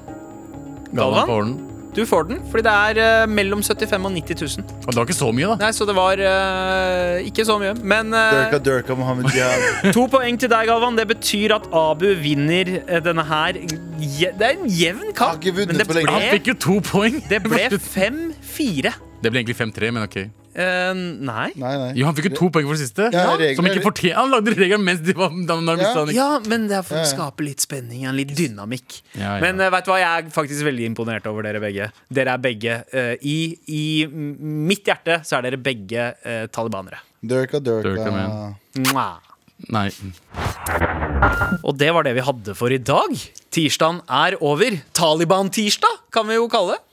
Galvan Galvan, får den. du får den, fordi det er eh, mellom 75 000 og 90 000. Og det var ikke så mye, da. Nei, så det var eh, ikke så mye. Men eh, Durka Durka Mohammed Jihad. to poeng til deg, Galvan. Det betyr at Abu vinner eh, denne her. Je det er en jevn Jeg har kamp, ikke vunnet men det på lenge. ble, Han fikk jo to poeng. det ble 5-4. Det ble egentlig 5-3, men ok. Eh, nei. Nei, nei. Jo, han fikk jo to poeng for det siste. Ja, regler- Som ikke fortjener Han lagde regler mens de var da- da mistet han ikke- Ja, men det er for Ja, å ja. skape litt spenning og litt dynamikk. Ja, ja. Men eh, vet du hva, jeg er faktisk veldig imponert over dere begge. Dere er begge eh, i, I m- mitt hjerte så er dere begge eh, talibanere. Durka Durka, Durka. man. Mwah. Nei. Og det var det vi hadde for i dag. Tirsdagen er over. Taliban-tirsdag kan vi jo kalle det.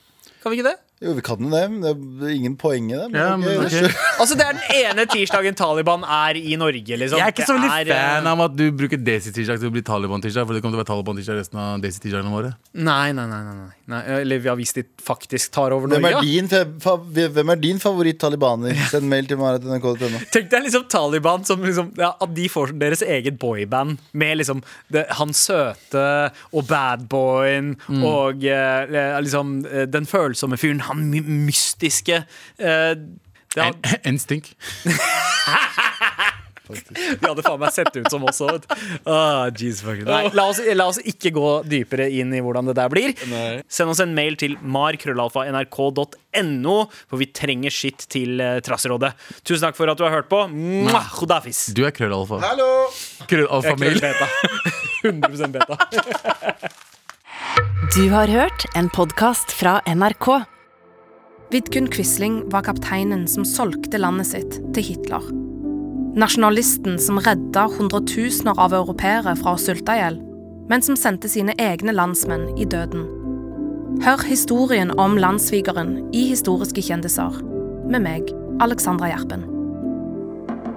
Kan vi ikke det? Jo, vi kan jo det. men Det er ingen poeng i det. Ja, ok, men det ok. skjø- Altså, det er den ene tirsdagen Taliban er i Norge, liksom. Jeg er ikke så Det veldig er, eh, fan av at du bruker Desi-tirsdag til å bli Taliban-tirsdag. For det kommer til å være Taliban-tirsdag resten av Desi-tirsdagene våre. Nei, nei, nei. nei, nei. nei eller ja, hvis de faktisk tar over Hvem Norge. er da. din, fe- fa- hvem er din favoritt-talibaner? Send mail til maratnrk.no. Tenk deg liksom Taliban som liksom ja, At de får deres eget boyband med liksom det, han søte og badboyen Mm. og eh, liksom eh, den følsomme fyren, han my mystiske eh, det En, hadde, en stink. de hadde faen meg sett ut som oss òg, vet du. Ah, jeez, fucking. Nei, la, oss, la oss ikke gå dypere inn i hvordan det der blir. Send oss en mail til markrøllalfa.nrk.no, for vi trenger skitt til eh, Trasserådet. Tusen takk for at du har hørt på. Mwah, Hodafis. Du er krøllalfa. Hallo! Krøllalfa-mail. Jeg er klart beta. 100 beta. Du har hørt en podkast fra NRK. Vidkun Quisling var kapteinen som solgte landet sitt til Hitler. Nasjonalisten som redda hundretusener av europeere fra å sulte i hjel, men som sendte sine egne landsmenn i døden. Hør historien om landssvigeren i Historiske kjendiser med meg, Alexandra Gjerpen.